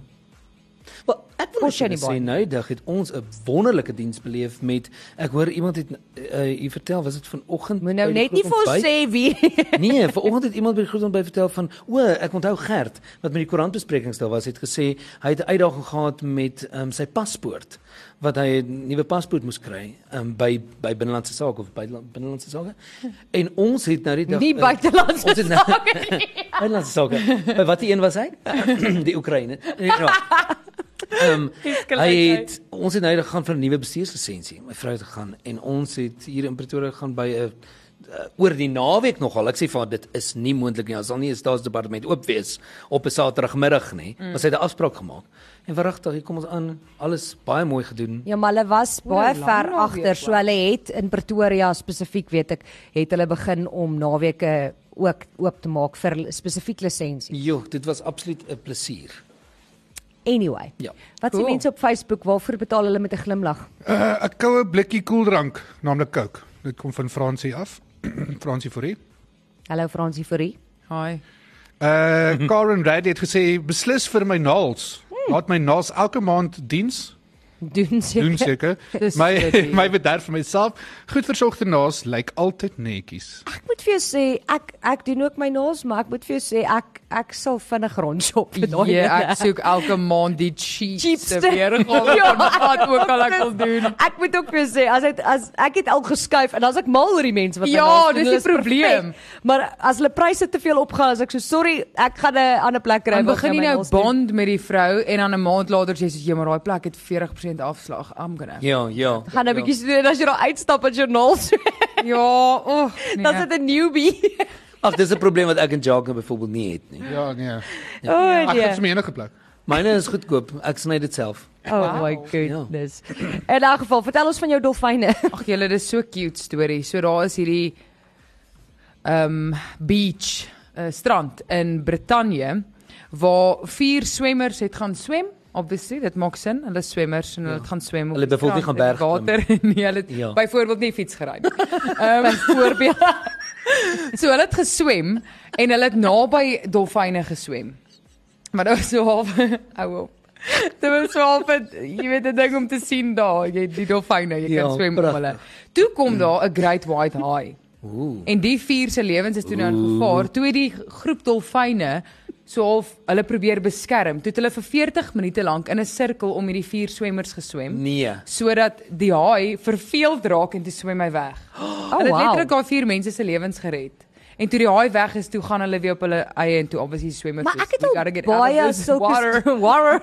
Wel, ek wil
Kos jou
net
nie baie
sê
nie.
noudag het ons 'n wonderlike diens beleef met ek hoor iemand het uh, u vertel was dit vanoggend
Moet nou
by die
net nie
groot
vir ons
ontbyt?
sê wie
Nee, vanoggend het iemand by die groot ontbyt vertel van o, ek onthou Gert wat met die koerantbesprekings daar was, het gesê hy het 'n uitdaging gehad met um, sy paspoort wat hy 'n nuwe paspoort moes kry um, by by binnelandse sake of by binnelandse sake. En ons het nou die dag
nie
eh,
buitelands
Ons het nou (laughs) Buitelandse sake. By watter een was hy? (clears throat) die Oekraïne. Nee, Ja. Ehm hy het ons het nou gegaan vir 'n nuwe bestuurslisensie. My vrou het gegaan en ons het hier in Pretoria gegaan by 'n uh, oor die naweek nogal. Ek sê vir haar dit is nie moontlik nie. Ons sal nie 'n staatsdepartement oop wees op 'n Saterdagmiddag nie. Mm. Maar sy het 'n afspraak gemaak. En verrigtig, hier kom ons aan. Alles baie mooi gedoen.
Ja, maar hulle was baie
lang
ver
naweek
agter. So
was.
hulle het in Pretoria spesifiek, weet ek, het hulle begin om naweke ook oop te maak vir spesifiek lisensie.
Jo, dit was absoluut 'n plesier.
Anyway.
Ja.
Wat sê
Cool.
cool. mense op Facebook waarvoor betaal hulle met 'n glimlag?
Uh, 'n koue blikkie koeldrank, naamlik Coke. Dit kom van (clears throat) Fransie af. Fransie Fourie.
Hallo Fransie Fourie.
Hi.
Uh Karen Reid het gesê beslis vir my naels.
Hmm.
Laat my naels elke maand diens.
Doen
Doen
seker.
seker.
Dis
(laughs) My
dit.
my bederf vir myself. Goed versorgde naels lyk altyd netjies.
Ek moet vir jou sê ek ek doen ook my naels, maar ek moet vir jou sê ek ek sal vinnig rondshop vir daai.
Ja,
dinge.
ek soek elke maand die cheapste
Cheapste. (laughs)
weergawe
Ja.
van wat ook al ek wil doen.
Ek moet ook weer sê as dit as ek het al geskuif en as ek mal oor die mense wat my
Ja,
naels doen,
dis
hulle
die probleem.
perfek. Maar as hulle pryse te veel opgaan, as ek so sorry, ek gaan 'n ander plek kry
Dan
wat
begin
my
jy nou
naels doen."
bond met die vrou en dan 'n maand later sê jy, "Ja, maar daai plek het 40% afslag." I'm gonna.
Ja, ja.
gaan nou 'n bietjie doen en as jy daar uitstap met jou naels,
Ja, oh,
(laughs)
nee.
dan is dit 'n newbie.
Ag, dis 'n probleem wat ek en Jacques nou byvoorbeeld nie het nie.
Ja nee.
(laughs) O,
Ek het
Oh, nee.
sommer enige plek.
Myne is goedkoop. Ek sny dit self.
Oh my goodness. In 'n geval, vertel ons van jou dolfyne.
Ag julle, dis so cute storie. So daar is hierdie ehm um, beach uh, strand in Brittanje waar vier swemmers het gaan swem. Obviously, dit maak sin. Hulle is swemmers en hulle het gaan swem op
Ja. Hulle
die
het byvoorbeeld nie
strand
gaan
in die (laughs) water. nee, hulle het ja.
Ja.
byvoorbeeld nie fiets gery nie. Ehm (laughs) um, voorbeeld. (laughs) so hulle het geswem en hulle het naby dolfyne geswem. Maar nou so half (laughs) ou op. Dit was so half het, jy weet 'n ding om te sien daar, jy die dolfyne, jy
Ja,
kan swem om
pragtig.
hulle. Toe kom daar 'n great white haai.
Ooh.
En die vier se lewens is toe nou in gevaar. Toe het die groep dolfyne so half hulle probeer beskerm. Toe het hulle vir 40 minute lank in 'n sirkel om hierdie vier swemmers geswem
(laughs)
Nee.
sodat die haai verveeld raak en toe swem hy weg.
(laughs)
Oh, hulle het
wow.
letterlik daar vier mense se lewens gered. En toe die haai weg is, toe gaan hulle weer op hulle eie en toe obviously swemmers.
Maar ek het
"We
al
gotta get out of
baie
this (laughs) water."
sulke water.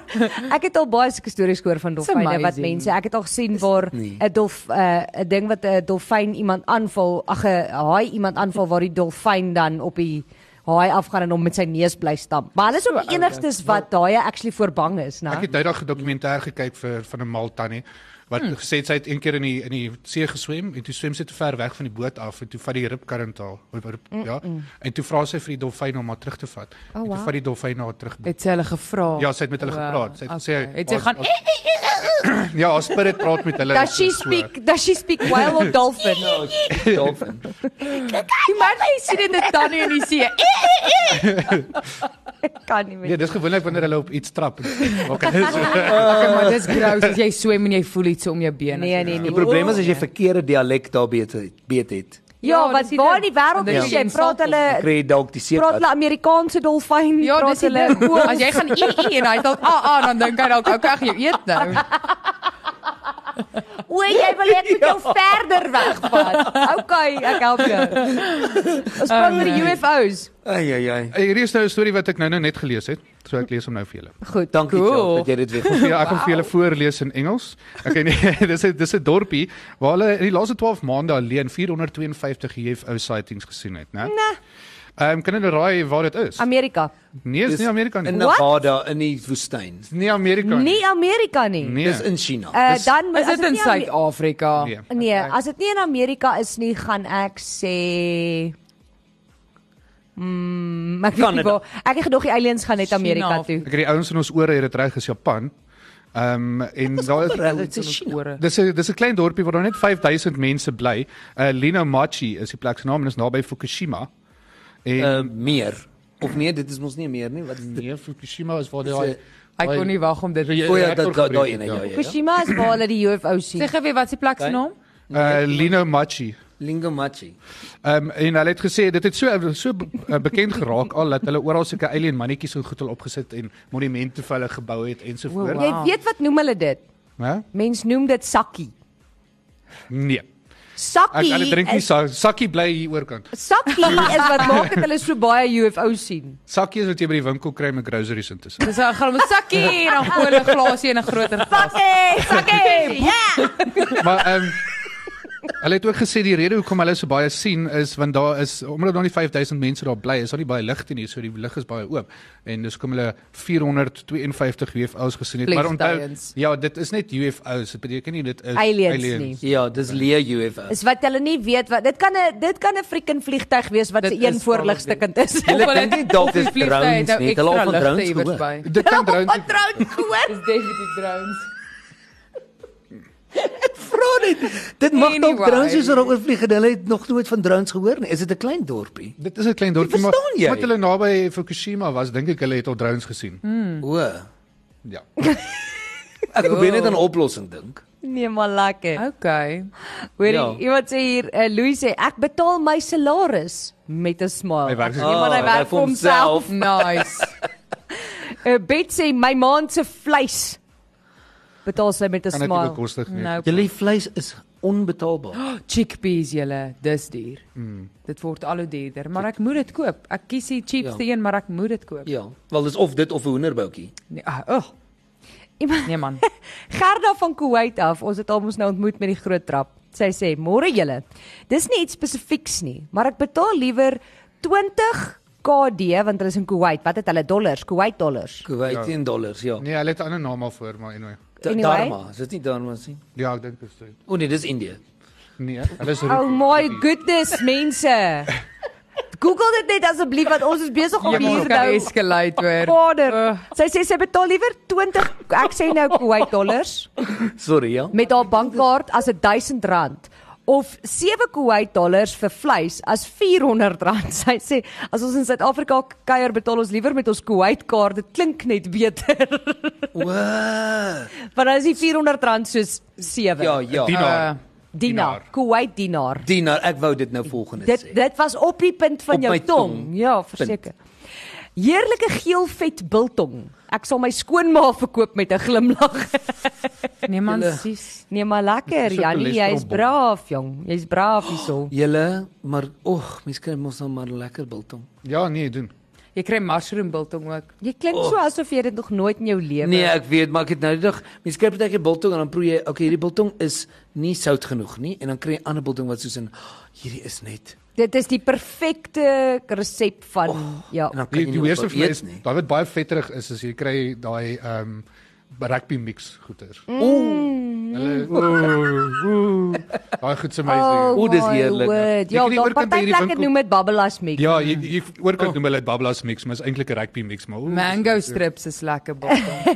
(laughs) Ek het al baie sulke stories gehoor van dolfyne wat
amazing.
mense. Ek het al gesien waar 'n dolf 'n ding wat 'n dolfyn iemand aanval, ag 'n haai iemand aanval waar die dolfyn dan op die haai afgaan en hom met sy neus bly stamp. Maar hulle is ook die enigstes wat daai actually voor bang is, né?
Ek het nou daag 'n dokumentêr gekyk vir van 'n mal tannie wat hmm. gesê het sy het een keer in die in die see geswem en toe swem sy te ver weg van die boot af en toe vat die ribkarrent haar of rib, mm -mm. ja en toe vra sy vir die dolfyn om haar terug te vat. Oh, en toe
wow.
vat die dolfyn haar terug.
Het sy hulle gevra?
Ja, sy het met hulle gepraat. Sy het gesê
het sy
haar-
gaan
haar- Ja, haar spirit praat met hulle.
Does she
Dis so.
speak? Does she speak whale or
(laughs)
dolphin?
Ja.
No, dolphin.
"Imagine jy sien dit net tannie in die
"Eh,
see." (laughs)
Kan nie meer.
Nee, dis gewoonlik wanneer hulle op iets trap. Okay. So,
Okay, maar dis gross as jy swem en jy voel iets om jou bene.
(laughs) Nee, nee, nee.
Die probleem is as jy verkeerde dialek daar weet het, weet het.
Ja, wat waar in die wêreld
Ja.
is jy? Praat hulle
Kry jy dalk die seep
praat hulle Amerikaanse dolfyn?
Ja,
praat
dis die
hulle-
ding. As jy gaan ee ee en hy dalk aa aa ah," dan dink hy dalk okay, jy
(laughs)
eet nou.
O, jy wil ek met jou verder wegvat. Okay, ek help jou. Ons praat oor die UFO's.
Ai ai ai.
hierdie is nou 'n storie wat ek nou nou net gelees het. So ek lees hom nou vir julle.
Goed.
Dankie
Cool.
cool. Joe dat jy dit weer.
Ja, ek gaan vir julle voorlees in Engels. Okay, nee, (laughs) dis 'n dis 'n dorpie waar hulle in die laaste 12 maande alleen 452 UFO sightings gesien het, né? Nee. Ehm um, kan julle raai waar dit is?
Amerika.
Nee, is
Dis
nie Amerika nie.
In
What?
Nevada in die woestyn.
Dis nie Amerika nie.
Nie Amerika nie.
Nee.
Dis in China.
Uh
Dis-
dan moet
Is dit in
nie Ame-
Suid-Afrika?
Nee.
Nee, as dit nie in Amerika is nie, gaan ek sê Mm, maar ek weet nie
Kanada.
waar. Ek het gedog die aliens gaan net Amerika
China.
toe.
Ek het die ouens in ons ore het dit reg is Japan. Ehm um, en daar is
Dit is China.
Ore.
Dis 'n dis 'n klein dorpie waar daar net 5000 mense bly. Uh Lenomachi is die plek se naam en is naby Fukushima. En
Uh,
uh,
meer. Of nee, dit is mos nie meer nie. Wat is dit?
nee, Fukushima is waar
Dis
daai
Ek kon nie wag om dit
Ja,
O ja,
reactor
dat daai daai
gebreek
ene
het,
ja ja. ja.
Fukushima is waar hulle die UFO's sien.
Sê gou weer wat is die plek se
Kyk.
naam?
Uh Lenomachi.
Lingamachi.
Ehm um, en hulle het gesê dit het so so be- uh, bekend geraak al dat hulle oral sulke alien mannetjies en goed al opgesit en monumente vir hulle gebou het ensovoorts.
Wow,
Jy
wow.
weet wat noem hulle dit?
Né?
Mens noem dit sakkie.
Nee. Ek
Sakkie.
hulle drink nie
is-
sa sakkie bly hier oorkant. (laughs)
Sakkie is wat maak dat hulle so baie UFO's sien.
Sakkie is wat jy by die winkel kry met groceries intussen.
Dis 'n gaan om 'n sakkie en dan gooi hulle 'n glasie en 'n groter glas.
Sakkie, sakkie. Ja.
Maar ehm um, hulle het ook gesê die rede hoekom hulle so baie sien is want daar is omdat daar nie 5000 mense daar bly is, daar nie baie lig in hier, so die lig is baie oop en dis kom hulle 452 UFO's gesien het. Maar onthou
Vliegtuigens.
ja, dit is net UFO's, dit beteken nie dit is
Aliens
Ja, dis leë UFO.
Is wat hulle nie weet wat dit kan 'n dit kan 'n freaking vliegtyg wees wat
Dit
se een
is
voorligste
probably.
kind is.
Hulle dink nie dalk dis drones nie. Hulle al van drones gehoor.
Dis
Dit kan drones
Wat trou gehoor?
definitief drones.
vra net. Dit mag dalk
Anyway.
drones is oor vlieg en hulle het nog nooit van drones gehoor nie. Is dit 'n klein dorpie?
Dit is 'n klein dorpie maar
verstaan jy?
omdat hulle naby Fukushima was, dink ek hulle het al drones gesien.
O.
Ja.
Ek probeer net aan 'n oplossing dink.
Nee, maar lekker.
Okay.
Hoorie,
Ja.
iemand sê hier, uh, Louis sê ek betaal my salaris met 'n smile.
Hy werk soos-
Iemand hy
Ah,
Oh, werk vir homself.
Nice.
(laughs)
Uh, Bet sê my maand se vleis betaal sy met 'n
Kan dit nie
smile.
bekostig nie.
nou
Julle vleis is onbetaalbaar.
chickpeas julle, dis duur. Mm. Dit word al hoe duurder, maar ek moet dit koop. Ek kies die cheapste ja. een, maar ek moet dit koop.
(gasps) Ja, wel dis of dit of 'n hoenderboutjie.
Nee, ah, oh,
Iemand-
(laughs)
nee man.
Oh,
Gerda van Kuwait af, ons het almos nou ontmoet met die groot trap. Sy sê: "Môre julle. Dis nie iets spesifieks nie, maar ek betaal liewer 20 KD want hulle is in Kuwait. Wat het hulle dollars? Kuwait dollars.
Kuwait in dollars, ja.
Nee, hulle het 'n ander naam al voor, maar anyway.
Da-
Anyway.
Dharma, is dit nie Dharma nie?
Ja, ek dink dit is dit.
O nee, dis Indië.
Nee, hulle is
Oh my goodness, mense. Google dit net asseblief want ons is besig om
Jy
hier
moet nou
nou
escalate
Oh.
weer.
Vader, sy sê sy betaal liewer 20 ek sê nou Kuwait dollars
(laughs) Sorry, ja.
met haar bankkaart as 1000 rand of 7 Kuwait dollars vir vleis as 400 rand. (laughs) Sy sê as ons in Suid-Afrika kuier betaal ons liewer met ons Kuwait kaart. Dit klink net beter. (laughs)
O.
Want as die 400 rand soos 7
(laughs) Ja, ja.
Uh,
Dina.
dinar, Kuwait dinar.
Dinar, ek wou dit nou volgende
Dit
sê.
dit was op die punt van
Op
jou
my
tong.
tong.
Ja, verseker. Heerlike geel vet biltong. Ek sal my skoonma verkoop met 'n glimlag. (laughs)
Ah, nee man, sis.
Nee, maar lekker.
Dis ook 'n
Janie, jy's
cholesterolbom.
braaf, jong. Jy's braaf hierso.
Julle, maar oeg, mens kry mos nou maar lekker biltong.
Ja, nee, doen.
Jy kry mushroom biltong ook.
Jy klink so asof jy dit nog nooit in jou lewe.
Nee, ek weet, maar ek het nou die dag, mens kry baie keer biltong en dan proe jy, okay, hierdie biltong is nie sout genoeg nie en dan kry jy ander biltong wat soos in hierdie is net.
Dit is die perfekte resep van oh, ja.
En dan kan
Nee, Die
jy
die
nie
eerste
ook wat
vleis,
eet nie.
daai wat baie vetterig is, is jy kry daai ehm rugby mix goeters.
Mm.
Mm.
(laughs)
Hulle ooh, ooh. Daai goed se amazing.
O, dis heerlik.
Oh, word.
Jy
Ja,
kan nie
daar
oorkom by
party
hierdie
plekke
winkel-
noem dit babbelas mix.
Ja, jy jy
Oh.
oor kan noem hulle dit bablas mix, maar is eintlik 'n rugby mix, maar ooh.
Mango strips is lekker biltong.
(laughs)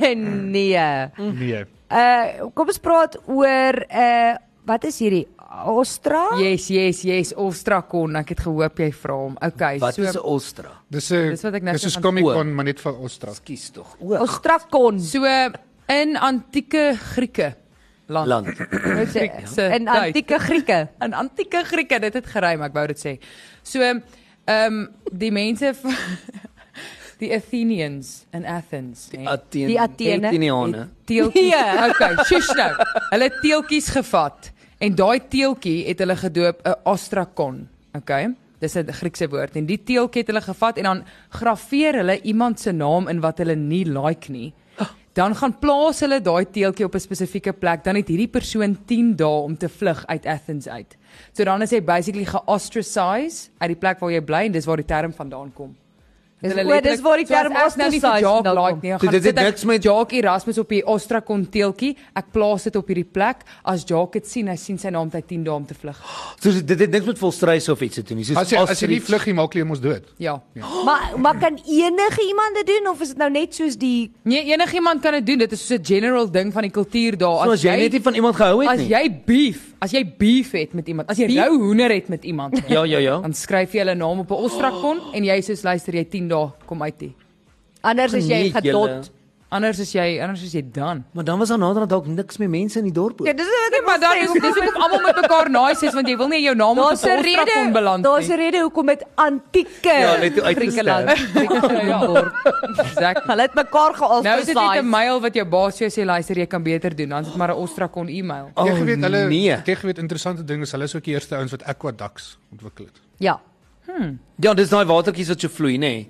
nee.
Nee.
Uh kom ons praat oor uh wat is hierdie? Ostra?
yes, yes, yes. Ostrakon, ek het gehoop jy vra hom. Okay,
Wat
so
is 'n ostra?
Dis 'n
Dis wat ek nou
dis
so
'n
aan-
comic
Oor.
con maar net vir Ostra.
Skus tog. O,
Ostrakon.
so in antieke Grieke land.
land.
nee.
Griekse
In
tyd.
antieke Grieke.
in antieke Grieke, dit het geruim, ek wou dit sê. So ehm um, die mense van- (laughs) die Athenians in Athens, né?
Athene.
Die Athene.
Atheniane.
Teeltjies.
Ja.
(laughs) Okay, shush nou. Hulle het teeltjies gevat en daai teeltjie het hulle gedoop 'n ostrakon. Okay? Dis 'n Griekse woord en die teeltjie het hulle gevat en dan graweer hulle iemand se naam in wat hulle nie like nie.
Oh.
Dan gaan plaas hulle daai teeltjie op 'n spesifieke plek, dan het hierdie persoon 10 dae om te vlug uit Athens uit. So dan is hy basically geostracise uit die plek waar jy bly en dis waar die term vandaan kom.
Dis
Hulle
o, dis
letterlik-
waar die
so as
term
ek nou nie vir
ostracised
Jacques
nou
like
kom.
nie, dan
So
gaan
dit het
sit ek
niks met-
Jacques Erasmus op die Ostrakon teeltjie. Ek plaas dit op hierdie plek. As Jacques dit sien, hy sien sy naam tyd 10 dae om te vlug.
So dit dit niks met volstrys of iets te doen nie. Soos
As jy as jy nie
ostrich.
vlug nie, maak jy mos dood.
Ja.
Maar maar kan enige iemand dit doen of is dit nou net soos die
Nee, enigiemand kan dit doen. Dit is so 'n general ding van die kultuur daar.
So as jy net nie van iemand gehou het
as
nie.
jy beef, as jy beef het met iemand, as jy rou hoender het met iemand,
Ja, ja, ja.
dan skryf jy hulle naam op 'n Ostrakon en jy sê luister jy 10 dae kom uit hier.
anders as jy
Geniet julle.
gedot?
Anders is jy anders is jy dan.
Maar dan was daar nader dalk niks meer mense in die dorp oor.
Ja, dis wat
Nee, maar dan is dis hoekom almal met mekaar nice is want jy wil nie jou naam op
Daar's
'n
'n
Ostrakon
rede.
beland
Daar's
(laughs)
'n
nie.
rede hoekom dit antieke
Ja, net hoe uitgesterf.
Griekeland
(laughs)
genoem
Ja.
word.
Exactly.
Hulle het mekaar gealf.
Nou is dit net 'n mail wat jou baas vir jou sê luister jy kan beter doen dan is dit maar 'n Ostrakon e-mail.
Jy geweet hulle
nee.
jy geweet interessante ding is hulle is ook die eerste ouens wat aquaducts ontwikkel het.
Ja.
Ja, dis daai watertjies wat so vloei, nê. Nee.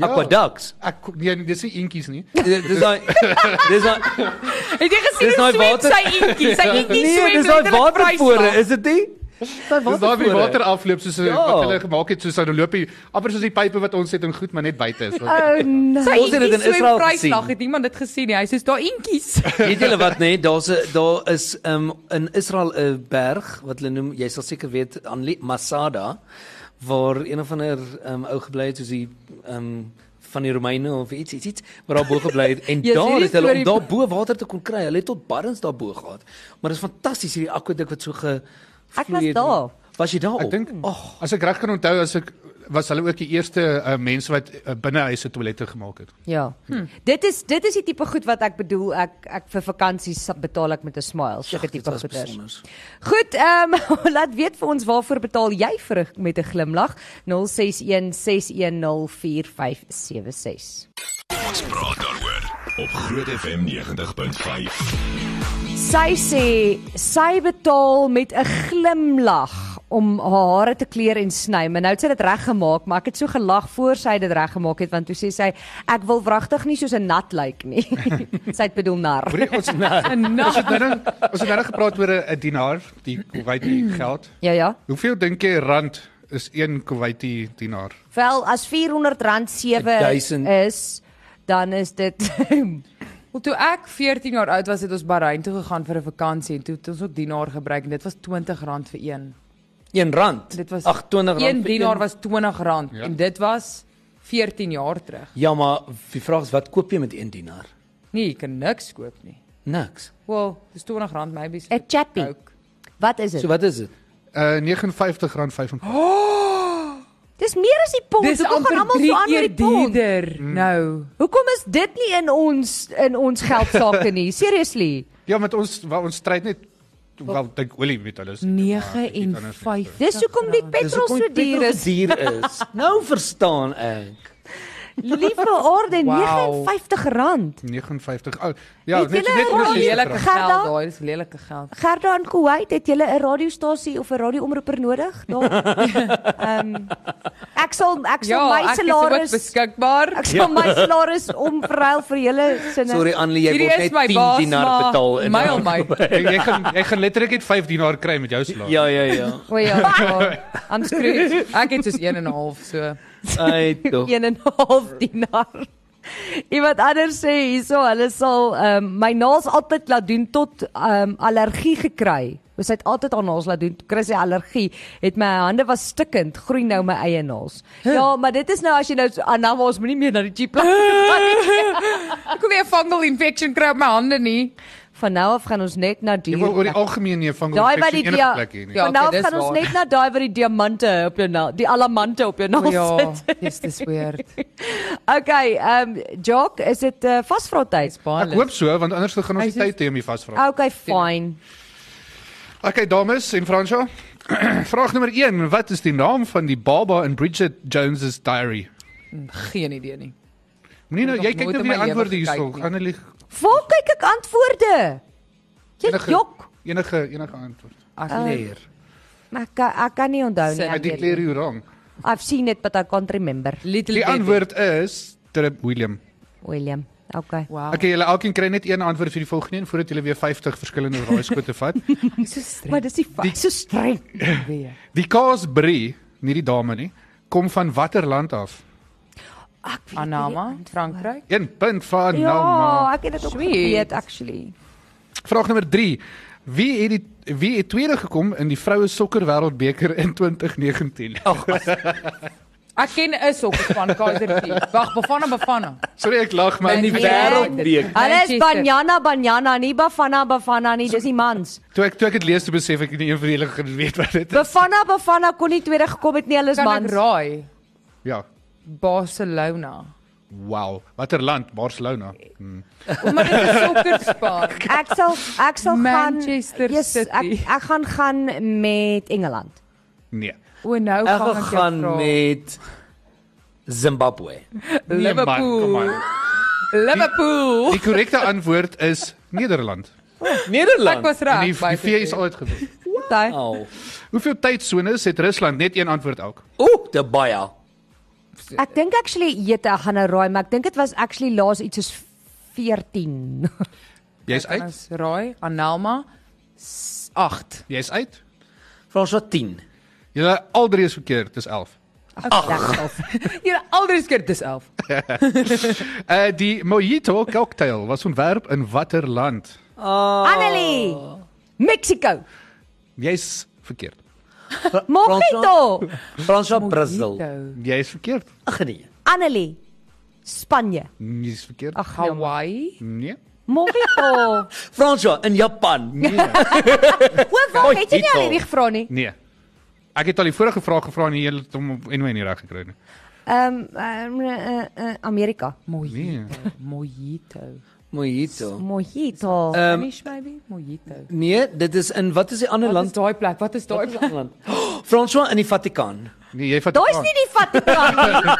Aqueducts.
Aqu nee, nee, dis nie eentjies nie.
Dis daai (laughs) Dis daai
Het jy gesien
Dis
hoe
nou
swem
water-
sy intjie?
(laughs)
Sy intjie swem.
Nee, dis daai
letterlik
watervore,
vryslag.
is dit nie? Daai
Dis daar wie water afloop soos ja. wat
Ja.
hulle gemaak het soos hulle loop hier amper soos die pype wat ons het en goed maar net buite is. Wat,
Oh nee.
Sy
Ons het dit
intjie
in Israel
swem vryslag.
gesien.
Het iemand dit gesien? nie? Hy sê daar
(laughs)
intjies.
Weet julle wat nê, nee? daar's 'n daar is um, in Israel 'n berg wat hulle noem, jy sal seker weet, ehm, aan Masada waar een of ander um, ou gebly het soos die um, van die Romeine of iets iets iets wat daar bo gebly het
(laughs)
en
Jy sê
daar
die
het hulle om
Ja, storie-
daar bo water te kon kry. Hulle het tot barrens daar bo gehad. Maar dit is fantasties hierdie akwedik wat so ge
Ek
vloei
was
het.
daar.
Was jy daar?
Ek dink oh. as ek reg kan onthou as ek was hulle ook die eerste uh, mense wat uh, binnehuise toilette gemaak het.
Ja. Hm. Dit is dit is die tipe goed wat ek bedoel. Ek ek vir vakansies betaal ek met 'n smile, sulke tipe goeders. Goed, ehm (laughs) um, laat weet vir ons waarvoor betaal jy vir 'n- met 'n glimlag? 0616104576.
Ons praat daaroor op Groot FM 90.5.
Sy sê sy betaal met 'n glimlag om haar hare te kleur en sny. Maar nou het sy dit reggemaak, maar ek het so gelag voor sy dit reggemaak het want toe sê sy ek wil wragtig nie soos 'n nat lyk nie. (laughs) sy het bedoel nar.
Hoorie ons nou
En nou,
ons het nou nog gepraat oor 'n dienaar, die Kuwaiti geld.
Ja ja.
Hoeveel dink jy rand is 1 Kuwaiti dienaar?
Wel as R400.7
1000.
is dan is (laughs) dit
wel, toe ek 14 jaar oud was, het ons Bahrein toe gegaan vir 'n vakansie en toe het ons ook dienaar gebruik en dit was R20 vir een.
R1.
Dit was
Ag R20
Een
vir
dienaar was R20
Ja.
ja. en dit was 14 jaar terug.
Ja, maar die vraag is wat koop jy met 1 dienaar?
Nee, jy kan niks koop nie.
Niks.
Wel, dis R20 maybe.
'n chappie.
Coke.
Wat is dit?
So wat is dit?
Uh R59.55. Oh,
Dis meer as die pond.
Dis
Hoekom gaan
amper
almal
drie
so aan met
keer
die pond?
duurder
Mm.
nou.
Hoekom is dit nie in ons in ons geldsaake nie? (laughs) Seriously.
Ja, met ons waar ons stryd net wel dink olie met hulle. is
Nee.
nie, maar ek weet anders nie.
59.
Dis hoekom die
Dis
petrol
hoekom
so duur
petrol
is.
Duur
(laughs)
is. nou verstaan ek.
Liewe orde
Wow.
R59.
59. Oh, ja,
Het
net
julle
net
een
oor die
lelike
lelike.
Gerda?
geld daai, dis lelike geld.
Gerda in Kuwait, het julle 'n radiostasie of 'n radioomroeper nodig? Daar. Ehm ek sal ek sal
Ja,
my
ek is ook
salaris
beskikbaar.
ek sal my salaris omverruil vir julle sinne.
Nou, Sorry Annelie, jy
Hierdie
word
is
net
my
10
baas,
dienaar
maar
betaal in
my al
(laughs)
my.
Jy jy gaan jy gaan letterlik net 5 dienaar kry met jou salaris.
Ja, ja, ja.
O (laughs) ja, ja.
I'm screwed. Ek het soos 1 en 'n half so. (laughs)
Ai
(laughs)
tog.
1.5 dienaar. Iemand anders sê hierso, hulle sal um, my naels altyd laat doen tot um, allergie gekry. Ons het altyd aan naels laat doen. Kry sy allergie, het my hande was stikkend, groei nou my eie naels. Ja, maar dit is nou as jy nou so- ah, nou maar ons moenie meer na die cheap plek gaan nie.
Ek kon weer 'n fungal infection kry op my hande nie.
Van nou af gaan ons net na die
Jy wil
Nee,
oor die algemeen nie vang
Daai wat die dia,
plek hier nie.
Ja,
ja,
okay,
van nou af
dis
gaan ons
waar.
net na daai wat die diamante op jou naal, die alamante op jou naal
Ja,
sit. (laughs)
(laughs) dis dis weird.
Okay, ehm um, Jock, is dit uh, vasvra tyd?
Dis baie.
Ek hoop so want anders dan gaan
Hy Ah.
ons die
sê-
tyd hê om die vasvra.
Okay, fine.
Okay dames en Fransjo. (clears throat) Vraag nommer 1, wat is die naam van die baba in Bridget Jones' Diary?
geen idee nie.
Moenie nou
Ek het
jy
nog
kyk
nooit
nou
in
weer
my lewe
antwoorde hierso.
gekyk nie.
Annelie
Waar kyk ek antwoorde? Jy
Enige-
jok.
enige enige antwoord.
Ek
Ah.
leer.
Maar ek kan, ek kan nie onthou nie.
Sê,
ek
I
weet
declare
nie.
you wrong.
I've seen it but I can't remember.
Little
Die
baby.
antwoord is Trip William.
William. Okay.
Wow.
Okay, julle alkeen kry net een antwoord vir die volgende een voordat julle weer 50 verskillende raaiskote
(laughs)
vat.
Dis so streng
Maar dis die fyn so streng.
weer.
Die kaas brie, nie die dame nie, kom van watter land af?
Ek weet nie die
Anama,
antwoord.
Frankryk.
1 punt van nou
Ja,
Nauma.
ek het dit ook
Sweet.
geweet actually.
Vraag nommer 3. Wie het die wie het tweede gekom in die vroue sokker wêreldbeker in 2019? Ag,
Ek ken 'n sokkerspan Kaisertjie. Wag, Bafana Bafana.
sorry ek lag maar
Nee,
Die
nee.
wêreldbeek.
Hulle is
Manchester.
Banyana Banyana, nie Bafana Bafana nie, dis die mans.
toe ek toe ek dit lees toe besef ek nie een van julle gaan weet wat dit is.
Bafana Bafana kon nie tweede gekom het nie, hulle is
Kan ek
mans.
raai?
Ja.
Barcelona.
Wow. Watter land? Barcelona. Hmm.
Maar dit is 'n sokkerspan.
(laughs) Ek sal ek sal gaan
Manchester
Yes, ek
City.
ek gaan gaan met Engeland.
Nee.
O nou
Ek
gaan ek
gaan
jou vra.
met
(laughs)
Zimbabwe.
Nee, man,
Liverpool.
come on.
Liverpool.
Die korrekte antwoord is Nederland.
(laughs)
Nederland.
Ek was
En
reg.
die die VS is altyd gewen.
Onthou.
Au.
Hoeveel tydsones het Rusland? Net een antwoord elk.
Ooh, te baie.
Ek dink actually jete ek gaan nou raai, maar ek dink dit was actually laas iets soos 14.
Jy's uit.
Ons raai Analma 8.
Jy's uit.
Frans wat 10.
Julle al drie is verkeerd, dis 11.
Ag.
Julle alders keer dis 11.
Uh die Mojito cocktail was ontwerp in watter land?
Annelie. Mexico.
Jy's verkeerd.
Mojito.
Frans wat Brazil.
Mojito.
Jy's verkeerd.
Ag nee.
Annelie. Spanje,
Nee, dis verkeerd.
ag nee.
Hawaii.
Nee.
Morito.
Fransja in Japan.
Hoe wag, het jy nie al
Morito.
hierdie gevra nie?
Nee. Ek het al die vorige vraag gevra en jy het hom op- anyway nie reg gekry nie.
Ehm ehm, eh, eh, eh, Amerika.
Mojito. Mojito.
Mojito.
Mojito.
Ehm,
Spanish maybe? Mojito.
Nee, dit is in wat is die ander
Wat is
land?
daai plek? Wat is daai
Wat is die
plek?
ander (gasps) land? Franswa in die Vatikaan.
Nee, jy vat
Daai is nie die Vatikaan nie.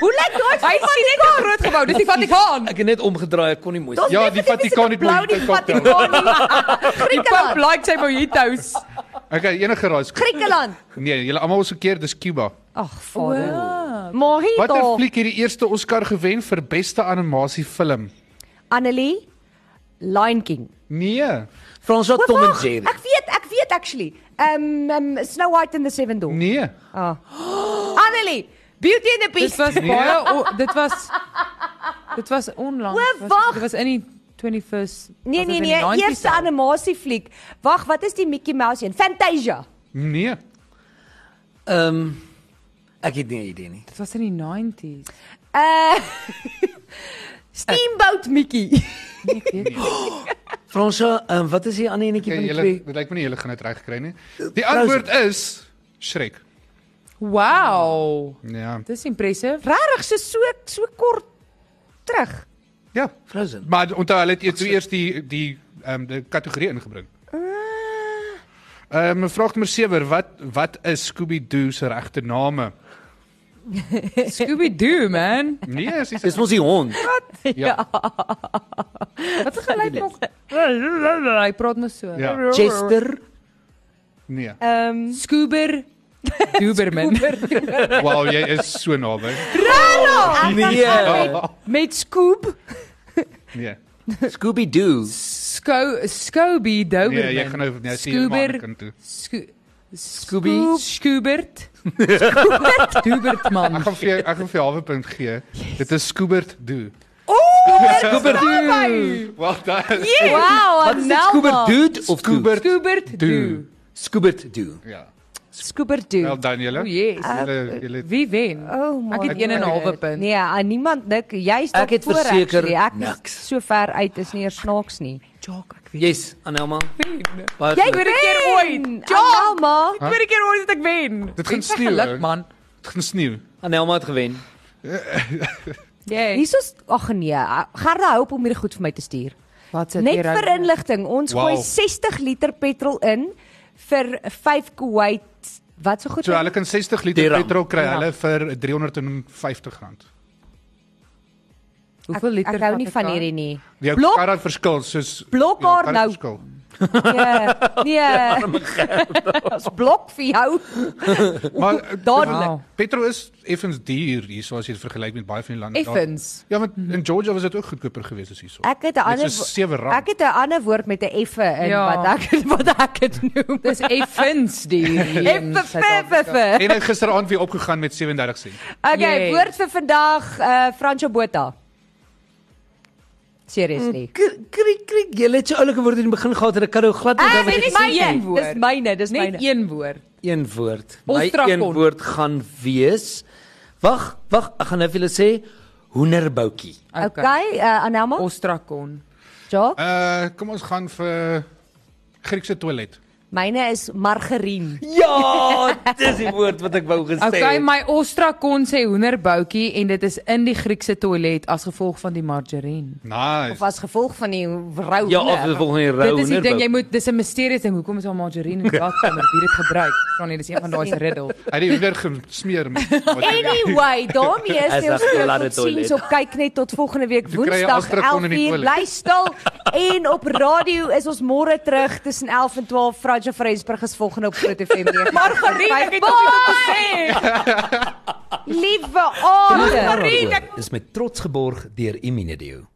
Hoe lyk daai
Hy sien net 'n groot gebou. Dis die Vatikaan.
Ek het net omgedraai, ek kon nie mooi.
Daar's
Ja,
definitief
die Vatikaan
nie
het
so blou die
Mojito
Vatikaan nie.
Die Pope
Griekeland.
like sy mojitos.
Okay, enige raai. is-
Griekeland.
Nee, julle almal was verkeerd, dis Cuba.
Ag, vader. Mojito.
Watter fliek het die eerste Oscar gewen vir beste animasiefilm?
Annelie Lion King.
Nee.
Fransja
O,
Tom en
wag,
Jerry.
Ek weet, ek weet actually. Ehm um, um, Snow White and the Seven Dwarfs.
Nee.
Ah. Annelie, Beauty and the
Dit
Beast.
was
Nee.
baie o- dit was dit was onlangs.
O,
Was-
wag.
Dit was in die 21st.
Nee nee
was dit in
nee,
die 90s
eerste
al?
animasiefliek. Wag, wat is die Mickey Mouse een? Fantasia.
Nee.
Ehm ek het nie 'n idee nie.
Dit was in die 90s.
Uh (laughs) Steamboat Mickey.
Nee, ek weet nie.
Fransja, ehm wat is die ander enetjie
Okay,
van die
julle
twee?
dit lyk my nie julle gaan dit reg kry nie. Die antwoord is Shrek.
Wow.
Ja.
Dis impressive.
Regtig so so so kort terug.
Ja.
Frozen.
Maar onthou hulle het toe eers die die ehm um, die kategorie ingebring.
Eh.
Ehm um, vraag nommer 7, wat wat is Scooby Doo se regte name?
Scooby Doo man.
Nee, is
Dis
dis
mos die hond.
ja.
Wat 'n geluid nog. Hy praat mos so.
Ja.
Chester.
Nee.
Eh.
Ehm
Scoober Duberman.
Wow, jy is so
(laughs)
naby.
Raro.
Ah,
Nee.
Met Scoob.
Nee.
Scooby Doo.
Sco Scooby Doberman.
Nee, jy gaan nou net sien maar
Scoober
kan toe.
Sco
Scooby.
Scoobert. Dubertman.
Ek gaan vir jou- ek gaan vir jou halwe punt gee. Dit is Scoobert Doo.
Scoober Doo.
Wel dan.
Wow,
Ja, Wat is dit Scooby Doo of Scooby?
Scoobert.
Scoobert Doo.
Scooby Doo.
Ja.
Scoober
Wel
Doo.
dan julle.
O, Oh, yes.
Julle julle
Wie wen?
Oh my.
Ek het een en 'n halwe punt.
Nee, aan niemand nik. Jy staan
Ek het
voor
verseker
actually. ek is
niks.
So ver uit is nie eers snaaks nie.
Jock, ek weet.
Yes, Anelma.
Wen.
Baie
Jy
geluk.
wen!
keer ooit. Ja.
Alma.
Tweede keer ooit dat ek wen.
Dit gaan
Ek het
sneeuw,
Geluk
hè?
man.
gaan sneeu.
Anelma het gewen.
Jy.
Hiersoos ag nee, Gerda help om hierdie goed vir my te stuur.
Wat
Net vir inligting, ons
Wow.
gooi 60 liter petrol in vir 5 Kuwait. Wat so goed?
So hulle kan 60 liter
Dirham.
petrol kry
Dirham.
hulle vir R350. rand.
Hoeveel liter
Ek, ek hou
vat Ja,
nie
ek
van
aan?
hierdie nie.
Jou
Blok-
kar het verskil soos
Blok
jou
haar
kar het
nou.
verskil.
Nee,
(laughs) Ja,
nee. (laughs) Ons blok vir jou
Maar Oh,
dadelik.
Wow.
petrol is effens duur hierso as jy dit vergelyk met baie van die lande. daar.
Effens.
Ja, want in Georgia was dit ook goedkoper geweest as hierso.
Ek het 'n ander
Dit is R7.
wo-
Ja.
Ek het 'n ander woord met 'n effe in
Ja.
wat ek wat ek dit noem.
Dis effens (laughs) die.
Ehm,
Effe effe effe.
En ek gisteraand weer opgegaan met 37 sent.
Okay,
Yes.
woord vir vandag eh Franco Botha. Seriously.
Krik krik, krik, jy het so oulike woorde in die begin gehad en ek kan nou glad nie onthou wat
Ek weet
jy
nie
gesê het nie.
een
myne,
woord.
dis myne, dis myne.
Net een woord.
Een woord. My
Ons trap
een
kon.
woord gaan wees. Wag, wag, ek gaan nou vir julle sê hoenderboutjie.
Okay, uh, Anelma.
Ostrakon.
Ja,
Uh kom ons gaan vir Griekse toilet.
myne is margarien.
Ja, (laughs) dis die woord wat ek wou gesê het.
Okay, my ostrakon sê hoenderboutjie en dit is in die Griekse toilet as gevolg van die margarine.
Nice.
Of as gevolg van die rou.
ja, of die volgende rou
Dit is die ding
hoenderboutjie.
jy moet dis 'n misterieus ding hoekom is daar margarine
(laughs)
in die badkamer wie dit gebruik? Van nee, dis een van daai se riddel.
Hy het weer
(laughs)
gesmeer met wat hy-
Anyway, daarmee is
As
dit ons
ek
terug
laat
tot
het toilet.
sien so kyk net tot volgende week
Toe kry jy
Woensdag
Astrakon in
11
die
uur
toilet.
bly stil en op radio is ons môre terug tussen 11 en 12 Franja Frensburg is volgende op Groot
(laughs)
FM weer.
Margarine, ek het
dit gesê. Liewe aarde.
Dis met trots geborg deur Imenedio.